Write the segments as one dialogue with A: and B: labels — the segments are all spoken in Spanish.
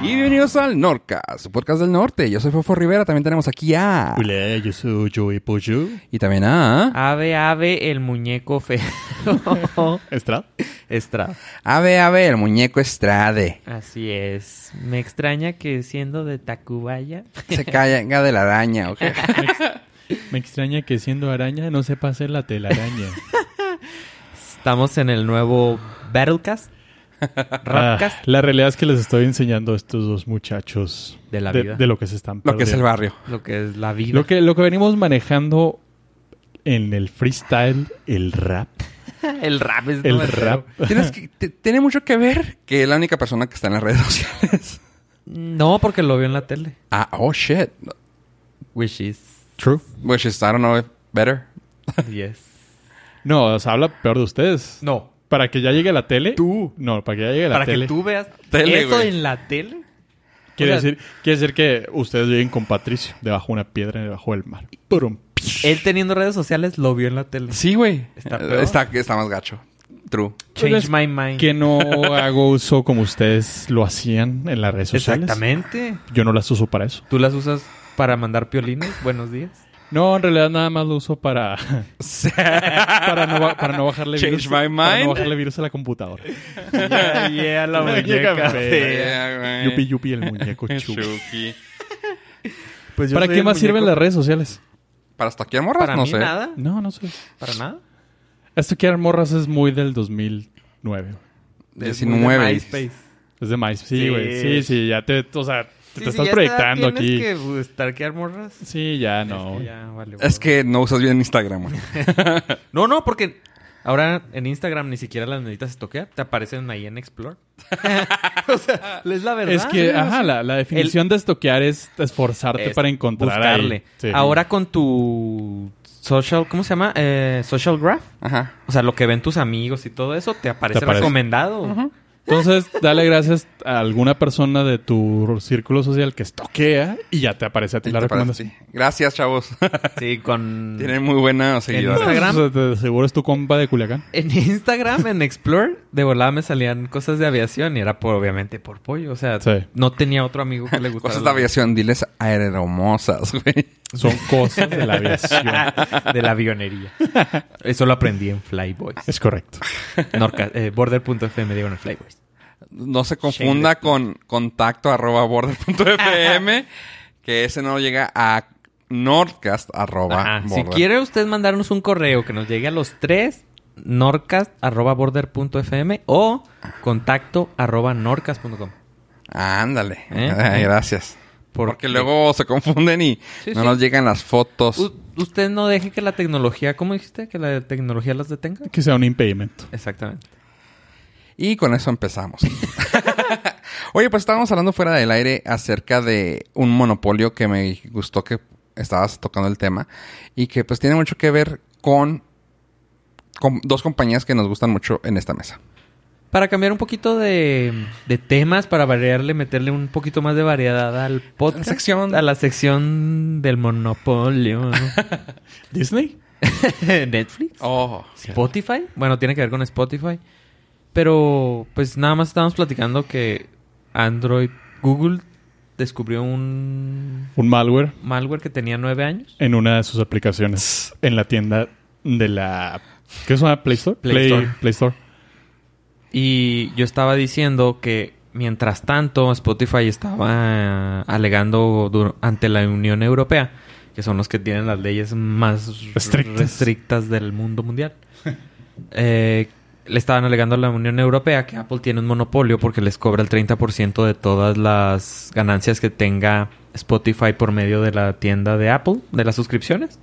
A: Bienvenidos al Norcas, su podcast del norte. Yo soy Fofo Rivera, también tenemos aquí a...
B: Hola, yo soy Joey Pollo.
A: Y también a...
C: Ave, ave, el muñeco feo.
B: ¿Estrada?
C: Estrada.
A: Ave, ave, el muñeco Estrade.
C: Así es. Me extraña que siendo de Tacubaya.
A: Se caiga de la araña, ok.
B: Me extraña que siendo araña no sepa hacer la telaraña.
C: Estamos en el nuevo Battlecast.
B: Ah,
C: Rapcast
B: la realidad es que les estoy enseñando a estos dos muchachos
C: de la vida.
B: de lo que se están
A: Lo que es el
B: perdiendo.
A: barrio.
C: Lo que es la vida.
B: Lo que, lo que venimos manejando en el freestyle, el rap.
C: El rap es
B: El
C: todo
B: rap.
A: Tienes que- te- tiene mucho que ver que es la única persona que está en las redes sociales.
C: No, porque lo vio en la tele.
A: Ah, oh, shit.
C: Which is.
B: True.
A: Which is, I don't know, better.
C: Yes.
B: No, o sea, habla peor de ustedes.
C: No.
B: Para que ya llegue a la tele.
C: Tú.
B: No, para que ya llegue a la
C: Para
B: tele.
C: que tú veas
A: Tele,
C: eso
A: güey.
C: en la tele.
B: Quiere,
C: o sea-
B: decir, quiere decir que ustedes viven con Patricio, debajo de una piedra, debajo del mar. Purum.
C: Él teniendo redes sociales lo vio en la tele.
A: Sí, güey.
C: Está
A: Eh,
C: peor.
A: Está, está más gacho. True.
C: Change
B: Pues,
C: my mind.
B: que no hago uso como ustedes lo hacían en las redes sociales.
C: Exactamente.
B: Yo no las uso para eso.
C: ¿Tú las usas para mandar piolines? Buenos días.
B: No, en realidad nada más lo uso para para no, ba- para no bajarle
A: Change
B: virus,
A: my
B: para
A: mind.
B: no bajarle virus a la computadora.
C: Yeah, la
B: muñeca
C: Eh,
B: fea.
A: Yeah, güey.
B: Yupi yupi el muñeco chu.
A: Chucky.
B: ¿Para qué más sirven las redes sociales?
A: ¿Para stalkear morras?
C: Para
A: no
C: mí
A: sé.
C: nada.
B: No, no sé.
C: Para nada.
B: Esto que eran morras es muy del 2009.
C: Es muy de
A: 19.
C: MySpace.
B: Es de MySpace. Sí,
C: Sí.
B: güey. Sí, sí, ya te, o sea, te, te
C: Sí, sí,
B: estás
C: ya
B: proyectando
C: está, tienes
B: aquí.
C: que pues, stalkear morras?
B: Sí, ya no.
C: Es que ya, vale,
A: Es
C: bueno.
A: que no usas bien Instagram, güey.
C: No, no, porque ahora en Instagram ni siquiera las necesitas estoquear. Te aparecen ahí en Explore. o sea, es la verdad.
B: Es que, ajá, la, la definición de estoquear es esforzarte
C: Es
B: para encontrar
C: buscarle.
B: ahí. Sí.
C: Ahora con tu social, ¿cómo se llama? Eh, social graph.
A: Ajá.
C: O sea, lo que ven tus amigos y todo eso te aparece,
B: Te aparece.
C: recomendado.
B: Entonces, dale gracias a alguna persona de tu círculo social que estoquea y ya te aparece a ti
A: Y
B: la
A: te parece
B: recomendación.
A: así. Gracias, chavos.
C: Sí, con
A: Tienen muy buena seguidores.
C: Instagram.
B: O sea, de seguro es tu compa de Culiacán.
C: En Instagram, en Explore, de volada me salían cosas de aviación y era por, obviamente por pollo. O sea,
B: Sí.
C: no tenía otro amigo que le gustara.
A: Cosas de
C: la-
A: aviación, diles aeromosas, güey.
B: Son cosas de la aviación.
C: de la avionería. Eso lo aprendí en Flyboys.
B: es correcto.
C: Norca, eh, Border.fm, digo en Flyboys.
A: No se confunda con contacto arroba border.fm, que ese no llega a nordcast arroba
C: Ajá. Si
A: border.
C: quiere usted mandarnos un correo que nos llegue a los tres, norcast.border.fm o contacto arroba norcas.com.
A: Ándale.
C: ¿Eh?
A: Ay, gracias.
C: Por-
A: Porque luego se confunden y
C: Sí,
A: no
C: sí.
A: nos llegan las fotos.
C: U- usted no deje que la tecnología, ¿cómo dijiste? Que la tecnología las detenga.
B: Que sea un impedimento.
C: Exactamente.
A: Y con eso empezamos. Oye, pues estábamos hablando fuera del aire acerca de un monopolio que me gustó que estabas tocando el tema y que pues tiene mucho que ver con, con dos compañías que nos gustan mucho en esta mesa.
C: Para cambiar un poquito de, de temas, para variarle, meterle un poquito más de variedad al podcast.
A: sección.
C: A la sección del monopolio.
B: ¿Disney?
C: Netflix.
A: Oh,
C: Spotify. Bueno, tiene que ver con Spotify. Pero, pues nada más estábamos platicando que Android, Google descubrió un
B: Un malware
C: malware que tenía nueve años.
B: en una de sus aplicaciones en la tienda de la... ¿Qué es una Play Store?
C: Play Store.
B: Play Store.
C: Y yo estaba diciendo que mientras tanto Spotify estaba eh, alegando dur- ante la Unión Europea, que son los que tienen las leyes más r-
B: Estrictas.
C: restrictas del mundo mundial. Eh, le estaban alegando a la Unión Europea que Apple tiene un monopolio porque les cobra el 30% de todas las ganancias que tenga Spotify por medio de la tienda de Apple, de las suscripciones.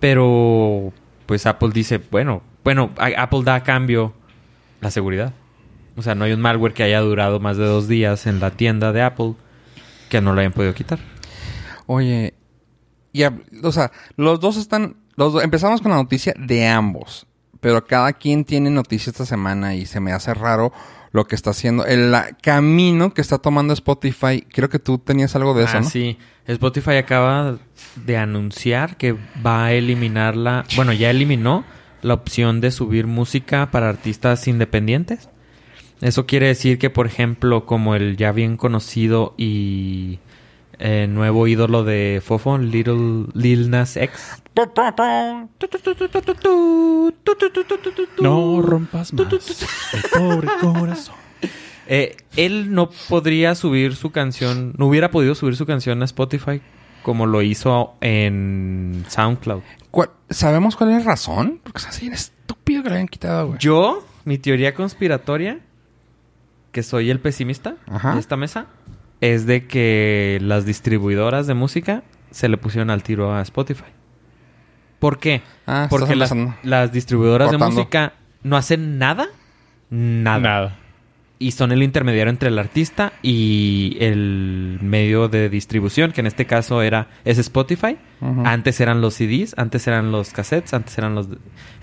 C: Pero pues Apple dice, bueno, bueno, a- Apple da a cambio la seguridad. O sea, no hay un malware que haya durado más de dos días en la tienda de Apple que no lo hayan podido quitar.
A: Oye, y hab- o sea, los dos están, los do- empezamos con la noticia de ambos, pero cada quien tiene noticia esta semana y se me hace raro lo que está haciendo, el la- camino que está tomando Spotify. Creo que tú tenías algo de eso,
C: ah,
A: ¿no?
C: sí. Spotify acaba de anunciar que va a eliminar la... Bueno, ya eliminó la opción de subir música para artistas independientes. Eso quiere decir que, por ejemplo, como el ya bien conocido y eh, nuevo ídolo de Fofo, Little, Lil Nas X.
B: No rompas más el pobre corazón.
C: Eh, él no podría subir su canción, no hubiera podido subir su canción a Spotify como lo hizo en SoundCloud.
A: ¿Cuál- ¿Sabemos cuál es la razón? Porque es así bien estúpido que lo hayan quitado, güey.
C: Yo, mi teoría conspiratoria, que soy el pesimista
A: Ajá.
C: de esta mesa, es de que las distribuidoras de música se le pusieron al tiro a Spotify. ¿Por qué?
A: Ah, estás
C: Porque las,
A: empezando.
C: las distribuidoras de
A: Cortando.
C: música no hacen nada, nada.
B: Nada.
C: Y son el intermediario entre el artista y el medio de distribución, que en este caso era es Spotify.
A: Ujú.
C: Antes eran los CDs, antes eran los cassettes, antes eran los...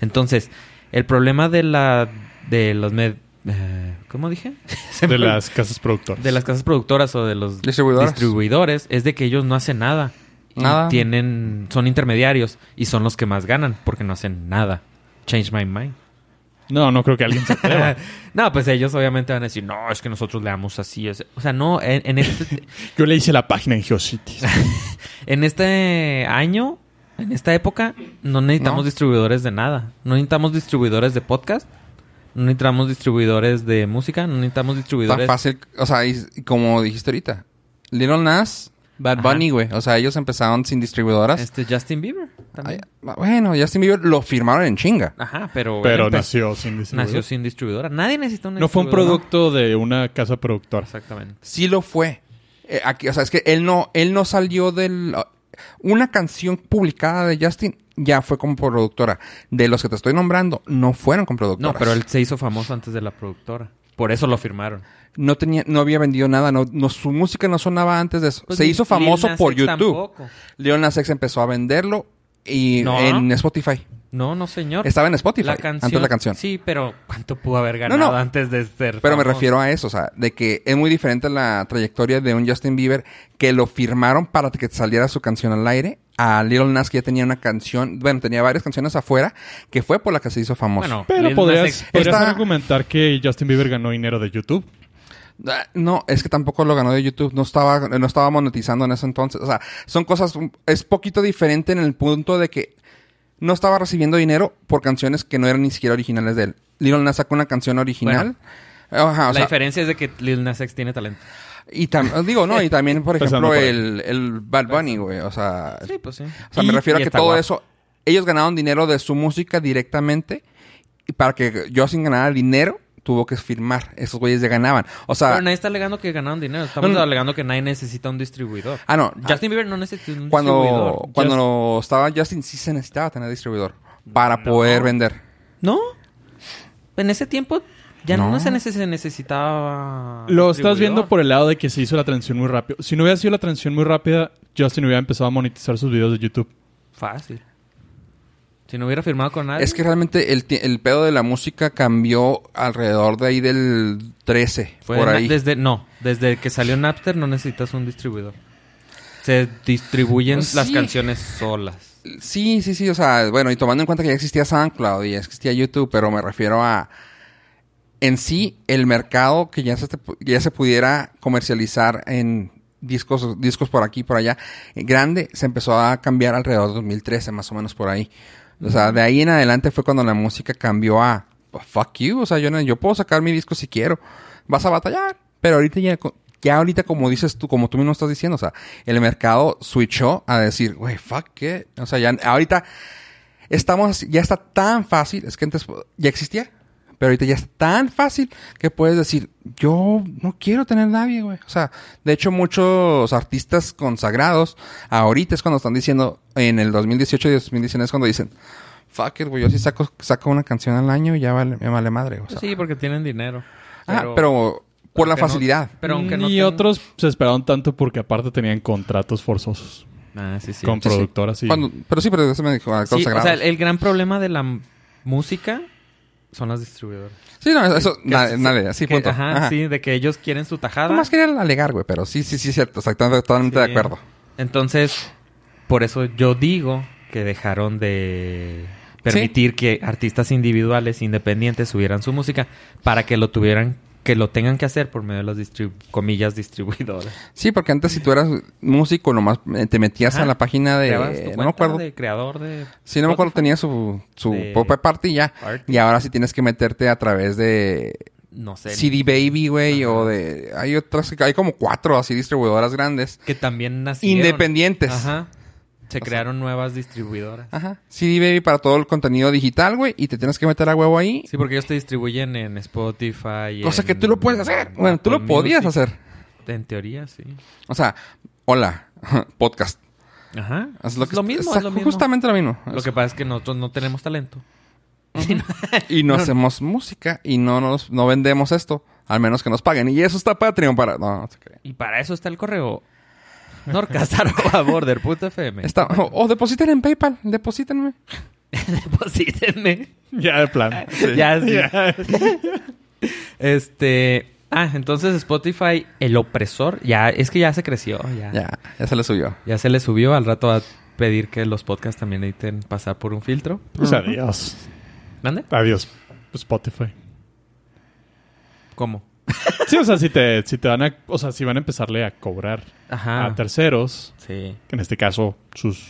C: Entonces, el problema de la... de los... med- eh, ¿Cómo dije? Se me
B: De
C: olvidó.
B: las casas productoras.
C: De las casas productoras o de los
A: Distribuidoras.
C: distribuidores es de que ellos no hacen nada. Y
A: Nada.
C: tienen, son intermediarios y son los que más ganan porque no hacen nada. Change my mind.
B: No, no creo que alguien se atreva.
C: no, pues ellos obviamente van a decir, no, es que nosotros le damos así. es-". O sea, no, en, en este,
B: Yo le hice la página en Geocities.
C: en este año, en esta época, no necesitamos
A: No.
C: distribuidores de nada. No necesitamos distribuidores de podcast. No necesitamos distribuidores de música. No necesitamos
A: Tan
C: distribuidores...
A: fácil. O sea, y- y como dijiste ahorita. Little Nas, Bad
C: Ajá.
A: Bunny, güey. O sea, ellos empezaron sin distribuidoras.
C: Este Justin Bieber. también. Ah.
A: Ay, bueno, Justin Bieber lo firmaron en chinga.
C: Ajá, pero...
B: Pero
C: él empezó-
B: nació sin distribuidor.
C: Nació sin distribuidora. Nadie necesita una
B: No fue un
C: distribuidora.
B: producto de una casa productora.
C: Exactamente.
A: Sí lo fue. Eh, aquí, o sea, es que él no, él no salió del... Una canción publicada de Justin ya fue como productora. De los que te estoy nombrando, no fueron con productoras.
C: No, pero él se hizo famoso antes de la productora. Por eso lo firmaron.
A: No, tenía, no había vendido nada. No, no- su música no sonaba antes de eso.
C: Pues
A: Se hizo famoso por YouTube. Leon Nas X empezó a venderlo y
C: No.
A: en Spotify.
C: No, no, señor.
A: Estaba en Spotify antes de la canción.
C: Sí, pero ¿cuánto pudo haber
A: No,
C: ganado
A: no.
C: antes de ser
A: Pero me
C: famoso?
A: refiero a eso, o sea, de que es muy diferente la trayectoria de un Justin Bieber que lo firmaron para que saliera su canción al aire, a Little Nas que ya tenía una canción, bueno, tenía varias canciones afuera, que fue por la que se hizo famoso.
C: Bueno,
B: Pero
C: Lil Nas
B: podrías,
C: X-
B: podrías
A: Está-
B: argumentar que Justin Bieber ganó dinero de YouTube.
A: Ah, No, es que tampoco lo ganó de YouTube, no estaba, no estaba monetizando en ese entonces, o sea, son cosas, un- es poquito diferente en el punto de que no estaba recibiendo dinero por canciones que no eran ni siquiera originales de él. Little Nas sacó una canción original. Ajá, o
C: la
A: sea,
C: diferencia es de que Lil Nas X tiene talento.
A: Y tam- digo, no, y también, por
B: Pues ando
A: ejemplo,
B: por ahí.
A: el, el Bad Bunny, güey. O sea,
C: Sí, pues sí.
A: o sea me
C: Y-
A: refiero a
C: y
A: que
C: está
A: todo
C: guapo.
A: eso, ellos ganaron dinero de su música directamente. Y para que yo sin ganar dinero, tuvo que firmar. Esos güeyes ya ganaban. O sea,
C: Pero nadie está alegando que ganaron dinero. Estamos
A: No, no.
C: alegando que nadie necesita un distribuidor.
A: ah, no.
C: Justin Bieber no necesita un distribuidor.
A: cuando cuando estaba Justin, sí se necesitaba tener distribuidor para
C: Mm, No.
A: poder vender.
C: No. En ese tiempo ya no,
A: No.
C: se, neces- se necesitaba.
B: Lo estás
C: Ah, distribuidor.
B: viendo por el lado de que se hizo la transición muy rápido. Si no hubiera sido la transición muy rápida, Justin hubiera empezado a monetizar sus videos de YouTube.
C: Fácil. Si no hubiera firmado con nadie.
A: Es que realmente el, ti- el pedo de la música cambió alrededor de ahí del 13.
C: Fue
A: por
C: na-
A: ahí.
C: Desde, no, desde que salió Napster no necesitas un distribuidor. Se distribuyen
A: Pues
C: las
A: sí.
C: canciones solas.
A: Sí, sí, sí. O sea, bueno, y tomando en cuenta que ya existía SoundCloud y ya existía YouTube, pero me refiero a en sí el mercado que ya se, te- ya se pudiera comercializar en discos, discos por aquí y por allá, eh, grande, se empezó a cambiar alrededor de 2013, más o menos por ahí. O sea, de ahí en adelante fue cuando la música cambió a "Oh, fuck you. O sea, yo, no- yo puedo sacar mi disco si quiero. Vas a batallar. Pero ahorita ya, co- ya ahorita como dices tú, como tú mismo estás diciendo, o sea, el mercado switchó a decir, güey, fuck it. O sea, ya ahorita estamos, ya está tan fácil, es que antes ya existía, pero ahorita ya está tan fácil que puedes decir, yo no quiero tener nadie, güey. O sea, de hecho muchos artistas consagrados ahorita es cuando están diciendo, en el 2018 y 2019 es cuando dicen, fuck it, güey, yo sí saco, saco una canción al año y ya vale, me vale madre, o sea.
C: sí, porque tienen dinero.
A: Ah, pero por la
C: aunque no-
A: facilidad.
C: pero aunque no
B: y
C: tengan-
B: otros se esperaron tanto porque aparte tenían contratos forzosos
C: Ah, sí, sí.
B: con
A: Sí, sí.
B: productoras y...
A: Cuando- pero sí, pero eso me dijo, ah,
C: Sí, o
A: consagrados.
C: sea, el, el gran problema de la m- música son las distribuidoras.
A: Sí, no, eso,
C: Que-
A: nadie,
C: que-
A: nadie, sí,
C: que-
A: punto.
C: Ajá,
A: Ajá.
C: sí, de que ellos quieren su tajada.
A: Nomás quería alegar, güey, pero sí, sí, sí, cierto, exactamente, totalmente de
C: Sí.
A: acuerdo.
C: Entonces, por eso yo digo que dejaron de permitir que artistas individuales, independientes, subieran su música para que lo tuvieran que lo tengan que hacer por medio de las distribu- comillas distribuidoras.
A: Sí, porque antes si tú eras músico, nomás eh, te metías
C: Ajá.
A: a la página
C: Creabas tu
A: de... No me
C: cuenta
A: acuerdo.
C: de creador de
A: Sí, no me acuerdo, tenía su, su
C: De-
A: propia parte y ya.
C: Spotify.
A: Y ahora sí tienes que meterte a través de
C: no sé.
A: CD Baby, güey,
C: Ajá.
A: o de... Hay otras, que- hay como cuatro así distribuidoras grandes.
C: Que también nacieron.
A: Independientes.
C: Ajá. Se
A: O sea- Ah.
C: crearon nuevas distribuidoras.
A: Ajá. CD Baby para todo el contenido digital, güey, y te tienes que meter a huevo ahí.
C: Sí, porque ellos te distribuyen en Spotify.
A: Cosa
C: en-
A: que tú lo puedes hacer. Bueno, tú lo
C: Apple
A: podías
C: Music.
A: hacer.
C: En teoría, sí.
A: O sea, hola, podcast.
C: Ajá.
A: Es
C: Es
A: lo,
C: lo,
A: que-
C: mismo,
A: está
C: es lo mismo.
A: Justamente lo mismo.
C: Lo que pasa es que nosotros no tenemos talento.
A: Y no hacemos música y no nos no vendemos esto. Al menos que nos paguen. Y eso está Patreon para... No, no se crean.
C: Y para eso está el correo. Norcasar.border.fm
A: Está, o, o depositen en PayPal. Deposítenme.
C: Deposítenme.
B: Ya de plan.
C: Ya, sí. Este... Ah, entonces Spotify, el opresor, ya... Es que ya se creció, ya. Ya,
A: Ya, ya se le subió.
C: se le subió. Al rato va a pedir que los podcasts también necesiten pasar por un filtro.
B: Pues adiós.
C: ¿Mande?
B: Adiós. Spotify.
C: ¿Cómo?
B: Sí, o sea, si te, si te van a... O sea, si van a empezarle a cobrar
C: Ajá.
B: a terceros,
C: Sí.
B: que en este caso sus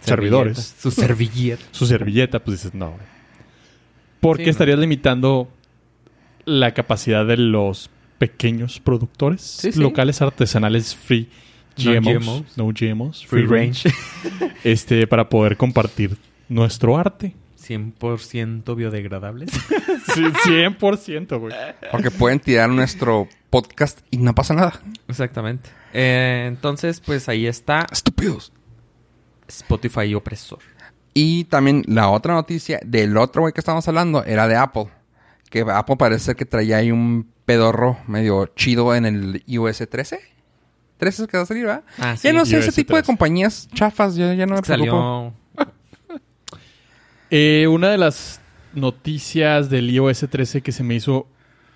B: servidores,
C: Servilletas. Sus servilletas.
B: su servilleta, pues dices, no, güey. ¿Por
C: Sí,
B: qué
C: no.
B: estarías limitando la capacidad de los pequeños productores
C: Sí, sí.
B: locales artesanales free
C: No
B: GMOs, no
C: GMOs.
B: GMOs, free range, este, para poder compartir nuestro arte?
C: 100% biodegradables.
B: Sí, 100%, güey.
A: Porque pueden tirar nuestro podcast y no pasa nada.
C: Exactamente. Eh, entonces, pues ahí está
A: Estúpidos.
C: Spotify opresor.
A: Y también la otra noticia del otro güey que estábamos hablando era de Apple. Que Apple parece ser que traía ahí un pedorro medio chido en el iOS 13. 13 es el que va a salir, ¿verdad?
C: Ah,
A: ya no sé,
B: iOS
A: ese tipo de
B: 13.
A: compañías chafas, yo ya no me preocupo.
C: Salió.
B: Eh, una de las noticias del iOS 13 que se me hizo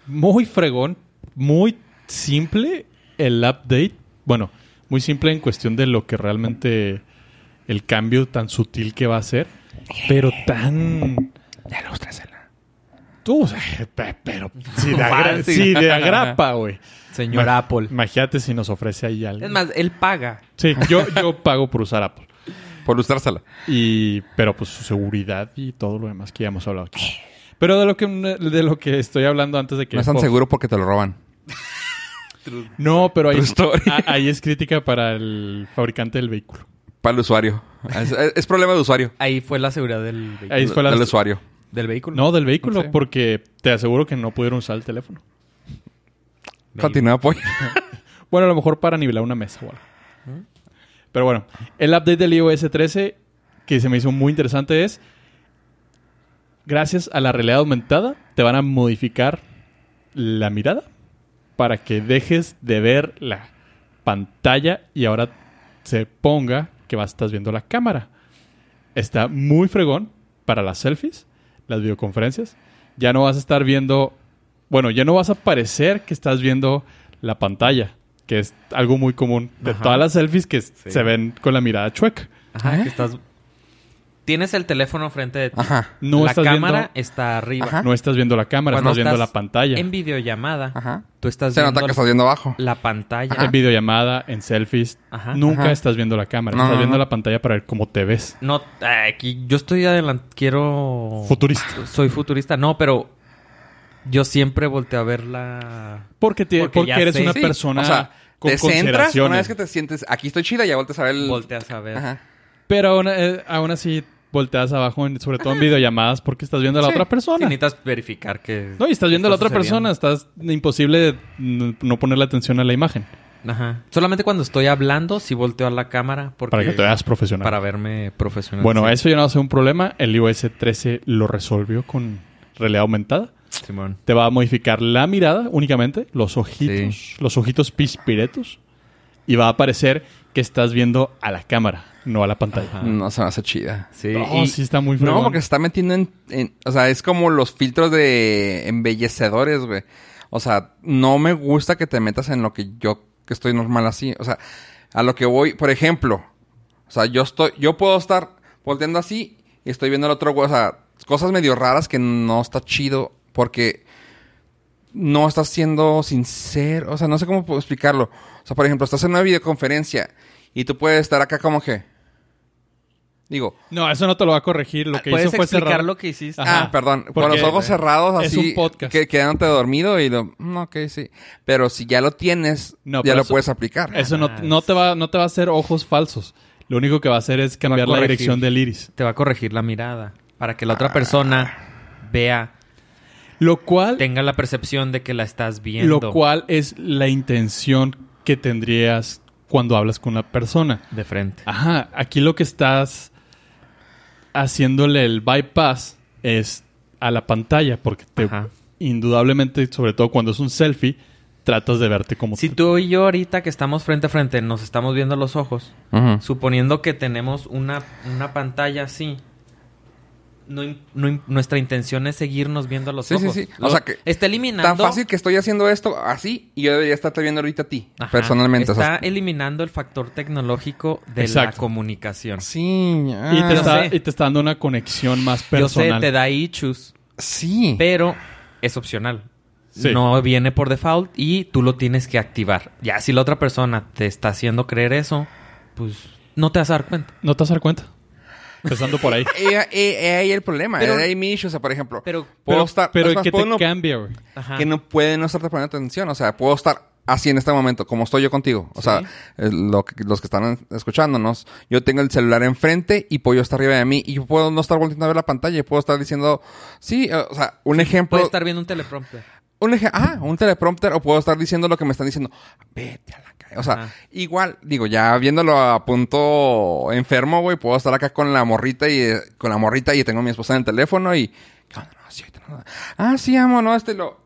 B: muy fregón, muy simple el update. Bueno, muy simple en cuestión de lo que realmente el cambio tan sutil que va a ser, pero tan.
A: Ya lustrasela.
B: Tú, o sea, pe- pero si de, agra-
C: Fácil.
B: si de agrapa, güey.
C: Señor
B: Ma-
C: Apple.
B: Imagínate si nos ofrece ahí algo.
C: Es más, él paga.
B: Sí, yo, yo pago por usar Apple.
A: Por lustrársela.
B: Y, pero pues su seguridad y todo lo demás que ya hemos hablado aquí. Pero de lo que, de lo que estoy hablando antes de que...
A: No es tan
B: Fox-
A: seguro porque te lo roban.
B: No, pero ahí,
A: True story.
B: a- ahí es crítica para el fabricante del vehículo.
A: Para el usuario. Es, es- es problema de usuario.
C: Ahí fue la seguridad del, vehi-
B: Ahí fue la-
A: Del usuario.
C: del vehículo.
B: No, del vehículo,
A: Sí.
B: porque te aseguro que no pudieron usar el teléfono.
C: Maybe.
A: Continúa, apoyo.
B: Bueno, a lo mejor para nivelar una mesa o algo.
A: ¿Mm?
B: Pero bueno, el update del iOS 13 que se me hizo muy interesante es, gracias a la realidad aumentada, te van a modificar la mirada para que dejes de ver la pantalla y ahora se ponga que vas, estás viendo la cámara. Está muy fregón para las selfies, las videoconferencias. Ya no vas a estar viendo, bueno, ya no vas a parecer que estás viendo la pantalla, que es algo muy común de
C: Ajá.
B: todas las selfies que se ven con la mirada chueca.
C: Ajá,
A: ¿Eh?
C: que estás. Tienes el teléfono frente de ti.
A: Ajá.
B: No
C: la
B: estás
C: cámara
B: viendo,
C: está arriba.
A: Ajá.
B: no estás viendo la cámara,
C: Cuando
B: estás viendo
C: estás
B: la pantalla.
C: En videollamada.
A: Ajá.
C: Tú estás
A: Se
C: viendo
A: nota que estás viendo abajo.
C: la pantalla.
B: En videollamada, en selfies.
C: Ajá.
B: Nunca
A: Ajá.
B: estás viendo la cámara.
A: No,
B: estás
A: no,
B: viendo
A: no.
B: la pantalla para ver cómo te ves.
C: No, ah, aquí yo estoy adelante. Quiero.
B: Futurista.
C: Soy futurista. No, pero yo siempre volteo a ver la.
B: Porque, te-
C: Porque
B: porque
C: ya
B: eres
C: sé.
B: una
C: Sí,
B: persona
A: o sea,
B: con
A: te centras
B: consideraciones.
A: una vez que te sientes aquí estoy chida ya volteas a ver el
C: Volteas a ver.
A: Ajá.
B: Pero aún, eh, aún así volteas abajo, en- sobre todo en videollamadas, porque estás viendo a la
A: Sí.
B: otra
C: Sí,
B: persona.
C: necesitas verificar que.
B: no, y estás viendo a la
C: está
B: otra persona.
C: sucediendo.
B: Estás imposible n- no ponerle atención a la imagen.
C: Ajá. Solamente cuando estoy hablando, sí volteo a la cámara. Porque,
B: Para que te veas profesional.
C: Para verme profesional.
B: bueno,
C: Sí,
B: eso ya no va a ser un problema. El iOS 13 lo resolvió con realidad aumentada.
C: Simón.
B: Te va a modificar la mirada únicamente, los ojitos, los ojitos pispiretos. Y va a aparecer que estás viendo a la cámara, no a la pantalla.
C: Ajá.
A: no se me hace chida
C: Sí.
B: Oh,
C: y-
B: sí está muy fregón.
A: no porque se está metiendo en, en- o sea es como los filtros de embellecedores güey o sea no me gusta que te metas en lo que yo que estoy normal así o sea a lo que voy por ejemplo o sea yo estoy yo puedo estar volteando así y estoy viendo al otro güey o sea cosas medio raras que no está chido porque no estás siendo sincero. O sea, no sé cómo puedo explicarlo. O sea, por ejemplo, estás en una videoconferencia y tú puedes estar acá como que. Digo,
B: No, eso no te lo va a corregir. Lo que
C: ¿Puedes
B: hizo fue
C: explicar
B: cerrar.
C: lo que hiciste?
B: Ajá.
A: ah, perdón, con
B: Porque
A: los ojos cerrados
B: es
A: así.
B: un podcast.
A: Que, quedándote dormido y lo. mm, ok, sí. Pero si ya lo tienes,
B: No,
A: ya
B: pero
A: lo
B: eso-
A: puedes aplicar.
B: Eso no, no, te va, no te va a hacer ojos falsos. Lo único que va a hacer es cambiar la
C: corregir.
B: dirección del iris.
C: Te va a corregir la mirada para que la
B: Ah.
C: otra persona vea,
B: Lo cual,
C: tenga la percepción de que la estás viendo.
B: lo cual es la intención que tendrías cuando hablas con una persona.
C: De frente.
B: Ajá, aquí lo que estás haciéndole el bypass es a la pantalla, porque te,
C: Ajá.
B: indudablemente, sobre todo cuando es un selfie, tratas de verte como
C: Si
B: te-
C: tú y yo ahorita que estamos frente a frente nos estamos viendo los ojos,
A: Ujú.
C: suponiendo que tenemos una, una pantalla así, no, im- no im- nuestra intención es seguirnos viendo los
A: Sí, sí,
C: ojos.
A: sí. O
C: Lo-
A: sea que-
C: está eliminando...
A: Tan fácil que estoy haciendo esto así y yo debería estarte viendo ahorita a ti,
C: Ajá.
A: personalmente. o sea,
C: Está eliminando el factor tecnológico de la
B: Exacto.
C: comunicación.
A: sí.
B: y,
A: ah,
B: te
C: yo
B: está,
C: sé.
B: y te está dando una conexión más
C: Yo
B: personal.
C: sé, te da issues,
A: Sí.
C: pero es opcional.
B: Sí.
C: No viene por default y tú lo tienes que activar. Ya si la otra persona te está haciendo creer eso, pues no te vas a dar cuenta.
B: No te vas a dar cuenta. Empezando por ahí.
A: He he- he eh, ahí el problema.
C: Pero-
A: he ahí mi issue. O sea, por ejemplo,
C: Pero-
A: puedo
B: Pero,
A: estar.
B: pero
A: es más,
B: ¿qué te
A: puedo no-
B: cambia, güey?
C: Ajá.
A: que no puede no estarte poniendo atención. O sea, puedo estar así en este momento, como estoy yo contigo. O sea, eh, lo que- los que están escuchándonos, yo tengo el celular enfrente y Pollo está arriba de mí y yo puedo no estar volviendo a ver la pantalla y puedo estar diciendo, sí, eh, o sea, un ejemplo.
C: Puedes estar viendo un teleprompter.
A: Un eje, ah, un teleprompter, o puedo estar diciendo lo que me están diciendo. Vete a la calle. O sea,
C: Ajá.
A: igual, digo, ya viéndolo a punto enfermo, güey, puedo estar acá con la morrita y eh, con la morrita y tengo a mi esposa en el teléfono y. ¿Qué onda? No, sí, ahorita no. Ah, sí, amo, no, este lo.